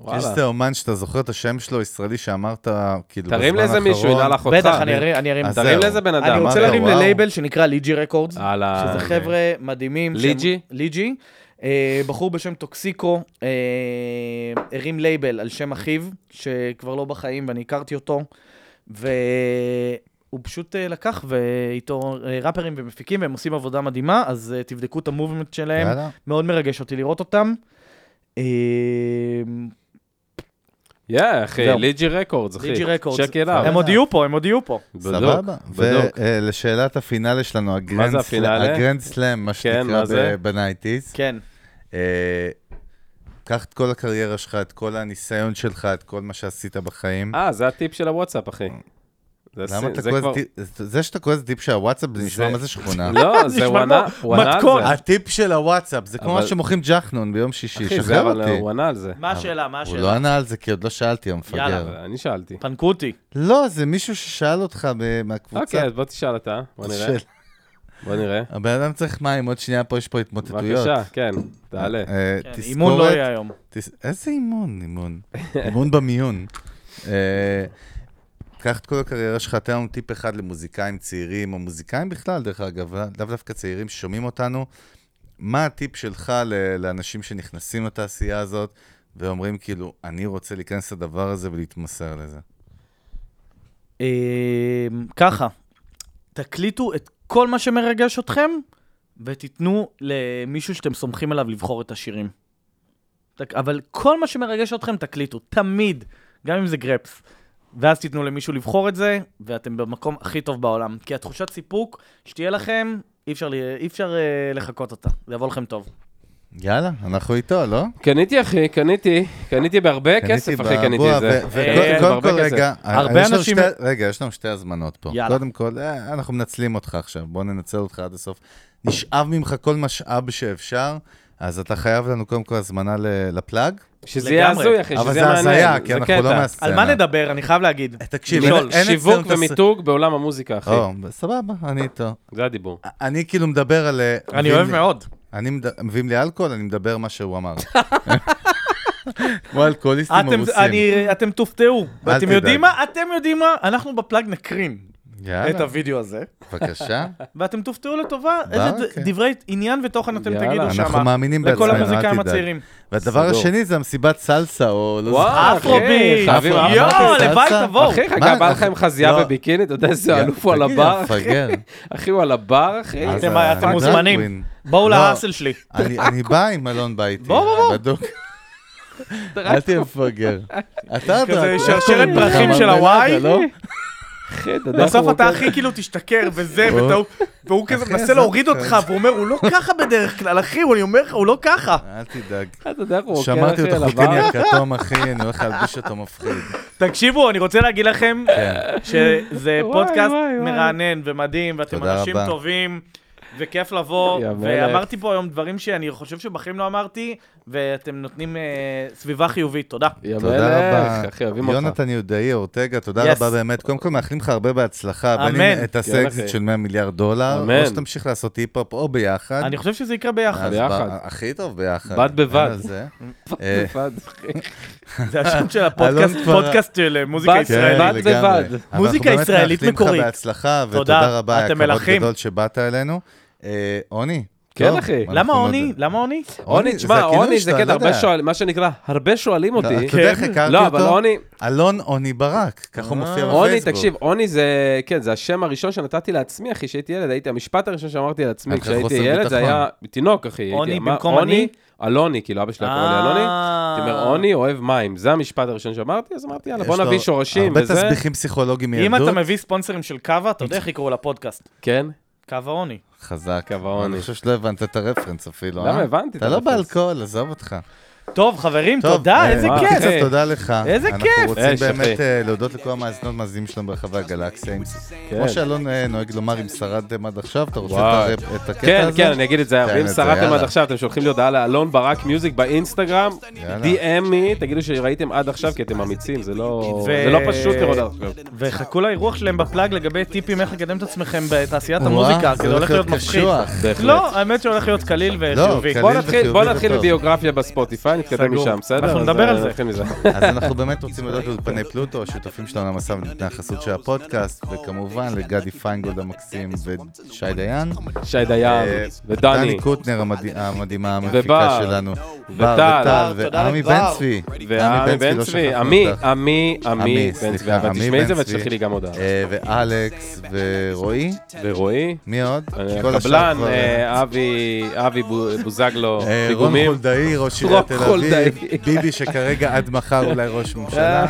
יש וואלה. איזה אומן שאתה זוכר את השם שלו, ישראלי, שאמרת, כאילו, תרים בזמן לאיזה מישהו, האחרון? ינעל אחותך. בטח, אני ארים- אני ארים. אז תרים זהו. לאיזה בן אדם. אני רוצה אמרת, להרים וואו. אה, ללייבל שנקרא ליג'י רקורדס. אהלן. שזה חבר'ה מדהימים. שהם- ליג'י? ליג'י. אה, בחור בשם טוקסיקו, אה, הרים לייבל על שם אחיו, שכבר לא בחיים ואני הכרתי אותו, והוא פשוט אה, לקח ואיתו אה, ראפרים ומפיקים, והם עושים עבודה מדהימה, אז אה, תבדקו את המובמנט שלהם, יאללה. מאוד מרגש אותי לראות אותם. אה, יא, אחי, זהו. ליג'י רקורדס, אחי. ליג'י רקורדס. צ'ק אל הם עוד יהיו פה, הם עוד יהיו פה. סבבה. בדוק. ולשאלת אה, הפינאלה שלנו, הגרנד זה סלאם- הפינאלה? כן, הגרנד סלאם, מה מה שנקרא זה? בנייטיז. כן. אה, קח את כל הקריירה שלך, את כל הניסיון שלך, את כל מה שעשית בחיים. אה, זה הטיפ של הוואטסאפ, אחי. זה למה סין- אתה זה קורא כבר- לזה טיפ? זה שאתה קורא לזה טיפ של הוואטסאפ, זה נשמע מה זה שכונה. לא, זה נשמע הוא ענה, כמו הוא ענה על מתכון. זה. הטיפ של הוואטסאפ, זה כמו אבל- מה שמוכרים ג'חנון ביום שישי, אחי, זה שחרר אבל אותי. הוא ענה על זה. מה השאלה? מה הוא השאלה? לא ענה על זה, כי עוד לא שאלתי, המפגר. אני שאלתי. פנקו אותי. לא, זה מישהו ששאל אותך ב- אוקיי, מהקבוצה. אז בוא תשאל אתה, בוא נראה. של- בוא נראה. הבן אדם צריך מים, עוד שנייה פה יש פה התמוטטויות. בבקשה, כן, תעלה. אה, כן, תזכורת- אימון לא יהיה היום. תס... איזה אימון, אימון. אימון במיון. אה, קח את כל הקריירה שלך, תן לנו טיפ אחד למוזיקאים צעירים, או מוזיקאים בכלל, דרך אגב, לאו דווקא צעירים ששומעים אותנו. מה הטיפ שלך ל- לאנשים שנכנסים לתעשייה הזאת ואומרים, כאילו, אני רוצה להיכנס לדבר הזה ולהתמסר לזה? אה, ככה, תקליטו את כל מה שמרגש אתכם, ותיתנו למישהו שאתם סומכים עליו לבחור את השירים. תק- אבל כל מה שמרגש אתכם תקליטו, תמיד, גם אם זה גרפס. ואז תיתנו למישהו לבחור את זה, ואתם במקום הכי טוב בעולם. כי התחושת סיפוק שתהיה לכם, אי אפשר, ל- אי אפשר אה, לחכות אותה. זה יבוא לכם טוב. יאללה, אנחנו איתו, לא? קניתי, אחי, קניתי. קניתי בהרבה כסף, אחי, קניתי את זה. אה, וקודם כל, בהרבה כסף. רגע, הרבה יש לנו אנשים- שתי- רגע, יש לנו שתי הזמנות פה. יאללה. קודם כל, אה, אנחנו מנצלים אותך עכשיו, בוא ננצל אותך עד הסוף. נשאב ממך כל משאב שאפשר, אז אתה חייב לנו קודם כל הזמנה ל- לפלאג, שזה יהיה לגמרי. הזוי, אחי, אבל שזה זה יהיה מעניין. הזיה, כי זה אנחנו לא קטע. מהסצנה. על מה לא, נדבר? אני חייב להגיד. אה, תקשיב, לשאול, אין- אין שיווק אצלנו את הס- ומיתוג בעולם המוזיקה, אחי. או, סבבה, אני איתו. זה הדיבור. אני כאילו מדבר על... אה, אני מביאים אוהב לי- מאוד. אני מד- מביאים לי אלכוהול, אני מדבר מה שהוא אמר. כמו אלכוהוליסטים אתם, הרוסים. אני, אתם תופתעו. ואתם תדאג. יודעים מה? אתם יודעים מה? אנחנו בפלאג נקרין. את יאללה, הוידאו הזה, בבקשה. ואתם תופתעו לטובה איזה אוקיי. ד- דברי עניין ותוכן אתם יאללה. תגידו אנחנו שמה. מאמינים בעצמנו, אל לכל המוזיקאים תדאג. הצעירים. והדבר סגור. השני זה המסיבת סלסה, או לא זוכר. וואו, אוקיי, אפרוביט. חייבים אפרו- אפרוביט. יואו, אמרתי לוואי סלסה? תבואו. אחי, מה, חכה, בא לך אנחנו- עם חזייה לא. בביני, אתה יודע איזה אלוף הוא על תגיד, אה, הבר, אחי? המפגר. אחי, הוא על הבר, אחי. אז אתם- ה- אתם הדרג מוזמנים. קווין. בואו לא. להאסל שלי. אני אני בא עם אלון ביתי. בוא, בוא, בוא. בדוק. אל תהיה מפגר. אתה הדרג. כזה איך שרשרת קוראים לך? פרחים של מרמלדה, הוואי. לא? אחי, אתה יודע איך בסוף הוא אתה רוקד. הכי כאילו תשתכר וזה בוא. וטעו. והוא כזה אחי, מנסה עזוב להוריד אותך. אותך, והוא אומר, הוא לא ככה בדרך כלל, אחי, הוא- אני אומר לך, הוא לא ככה. אל תדאג. אתה יודע איך הוא רוקד, שמרתי אחי, על אותו הבר. חוקיני הכתום, אחי, אני הולך להלביש אותו מפחיד. תקשיבו, אני רוצה להגיד לכם שזה וואי, פודקאסט וואי, וואי. מרענן ומדהים, ואתם תודה אנשים רבה. טובים, וכיף לבוא, יא מלך. ואמרתי פה היום דברים שאני חושב שבחיים לא אמרתי, ואתם נותנים אה, סביבה חיובית, תודה. יא תודה רבה. מלך, אחי, אוהבים אותך. יונתן יהודאי, אורטגה, תודה Yes. רבה באמת. קודם כל, מאחלים לך הרבה בהצלחה. בין אמן. אם תעשה יאללה, אקזיט כן, אחי. של 100 מיליארד דולר, אמן. או שתמשיך לעשות היפ-הופ, או ביחד. אני חושב שזה יקרה ביחד, אז ביחד. ב- הכי טוב ביחד. בד בבד. אין על זה. אה, זה השם של הפודקאסט, אלון כבר- פודקאסט של אה, מוזיקה בד- ישראלית. בד כן, לגמרי. בבד. אבל מוזיקה אנחנו באמת ישראלית מאחלים מקורית. לך בהצלחה, ותודה תודה, רבה, היה אתם כבוד מלכים. גדול שבאת אלינו. אה, עוני. כן, טוב, אחי. אנחנו למה מאוד- עוני? למה עוני? עוני, תשמע, הכינוי עוני זה שלו, אני קטע, לא הרבה יודע. שואלים, מה שנקרא, הרבה שואלים אתה אותי. אתה יודע איך הכרתי לא, אבל אותו? עוני, אלון עוני ברק, ככה הוא מופיע בפייסבוק. עוני, תקשיב, עוני זה, כן, זה השם הראשון שנתתי לעצמי, אחי, כשהייתי ילד, הייתי, המשפט הראשון שאמרתי לעצמי היה לך כשהייתי חוסר ילד, זה ביטחון. היה, תינוק, אחי, הייתי, אוקיי, עוני אמר, במקום עוני, אני? אה. אלוני, כאילו, אבא שלי היה קורא לי אלוני, הייתי אומר, עוני אוהב מים, זה המשפט הראשון שאמרתי, אז אמרתי, יאללה, יש בוא לו נביא שורשים וזה. הרבה תסביכים פסיכולוגיים אם מילדות. אתה מביא ספונסרים של קאבה, אתה יודע איך יקראו לפודקאסט. כן? קאבה עוני. חזק. קו העוני. אני חושב שלא הבנת את הרפרנס אפילו, אה? למה? הבנתי את אתה לא הרפרנס. באלכוהול, עזוב אותך. טוב, חברים, טוב, תודה, אה, איזה אה, כיף. בקיצור, תודה לך. איזה אנחנו כיף. רוצים אש, באמת אחי. אה, להודות לכל המאזינות והמאזינים שלנו ברחבי הגלקסיה. כן. כמו שאלון אה, נוהג לומר, אם שרדתם עד עכשיו, אתה רוצה וואי. את הרפ- את הקטע כן, הזה? כן, אני אגיד את זה תן היום. את אם זה, שרדתם יאללה. עד עכשיו, אתם שולחים לי הודעה לאלון ברק מיוזיק באינסטגרם, יאללה. DM לי, תגידו שראיתם עד עכשיו, כי אתם אמיצים, זה לא ו- זה לא פשוט לראות עד עכשיו. וחכו לאירוח שלהם בפלאג לגבי טיפים איך לקדם את עצמכם בתעשיית וואו, המוזיקה, זה כי זה הולך להיות מפחיד. קשוח. לא, לא, האמת שהולך להיות קליל וחיובי. קליל. בוא נתחיל, בוא וחיובי נתחיל וטוב. בביוגרפיה בספוטיפיי, נתקדם סגור. משם, בסדר? אנחנו אז, נדבר אה, על זה. נתחיל מזה. אז אנחנו באמת רוצים להודות לאולפני פלוטו, השותפים שלנו למסע ונותני החסות של הפודקאסט, וכמובן לגדי פיינגולד המקסים ושי דיין. שי דיין, אה, ודני, דני קוטנר המד- המדהימה, המפיקה ובר. שלנו. וטל. וטל, תודה ועמי לבר. בן צבי. ועמי אה, בן לא צבי, שכחנו עמי, אותך. עמי, עמי בן צבי, סליחה, אבל עמי תשמעי את זה בן צבי. ותשלחי לי גם הודעה. אה, ואלכס ורועי, ורועי, מי עוד? אה, כל השאר הקבלן, כבר- אה, אבי אבי בו- בוזגלו, אה, רון פיגומים. חולדאי, ראש עיריית רון תל אביב, חולדאי. ביבי שכרגע עד מחר אולי ראש ממשלה.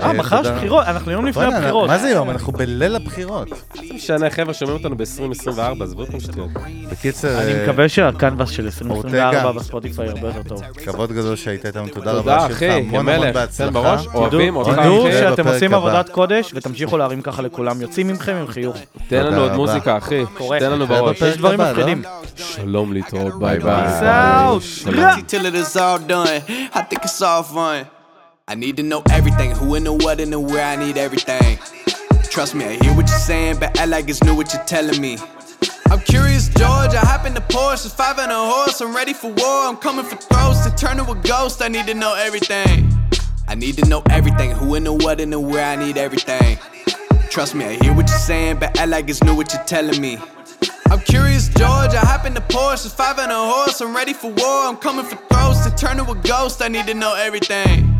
אה, מחר יש תודה. בחירות, אנחנו יום לפני בואנה, הבחירות. מה זה יום? אנחנו בליל הבחירות. לא משנה, חבר'ה שומעים אותנו ב-2024, עזבו אותנו שטויות. בקיצר, אני אה, מקווה שהקנבאס של אורטגה. 2024 בספוטיפיי הרבה יותר טוב. כבוד גדול שהיית איתנו, תודה רבה. תודה, שיהיה לך אחי, המון המון המלך, בהצלחה. תן בראש, אוהבים אותך, תדעו תדעו אחי. שאתם בפרק עושים הבא. עבודת קודש ותמשיכו להרים ככה לכולם, יוצאים מכם עם חיוך. תן לנו תודה עוד רבה. מוזיקה, אחי. קורה. תן לנו זה היה בראש. בפרק יש דברים הבא, לא? מפחידים. שלום להתראות, ביי Peace ביי. out. שלום. till it is all done. I think it's all fun. I need to know everything, who in the what and the where. I need everything. Trust me, I hear what you're saying, but act like it's new what you're telling me. I'm curious, George. I hop in the Porsche, it's five and a horse. I'm ready for war. I'm coming for throats to turn to a ghost. I need to know everything. I need to know everything, who in the what and the where. I need everything. Trust me, I hear what you're saying, but act like it's new what you're telling me. I'm curious, George. I hop in the Porsche, it's five and a horse. I'm ready for war. I'm coming for throats to turn to a ghost. I need to know everything.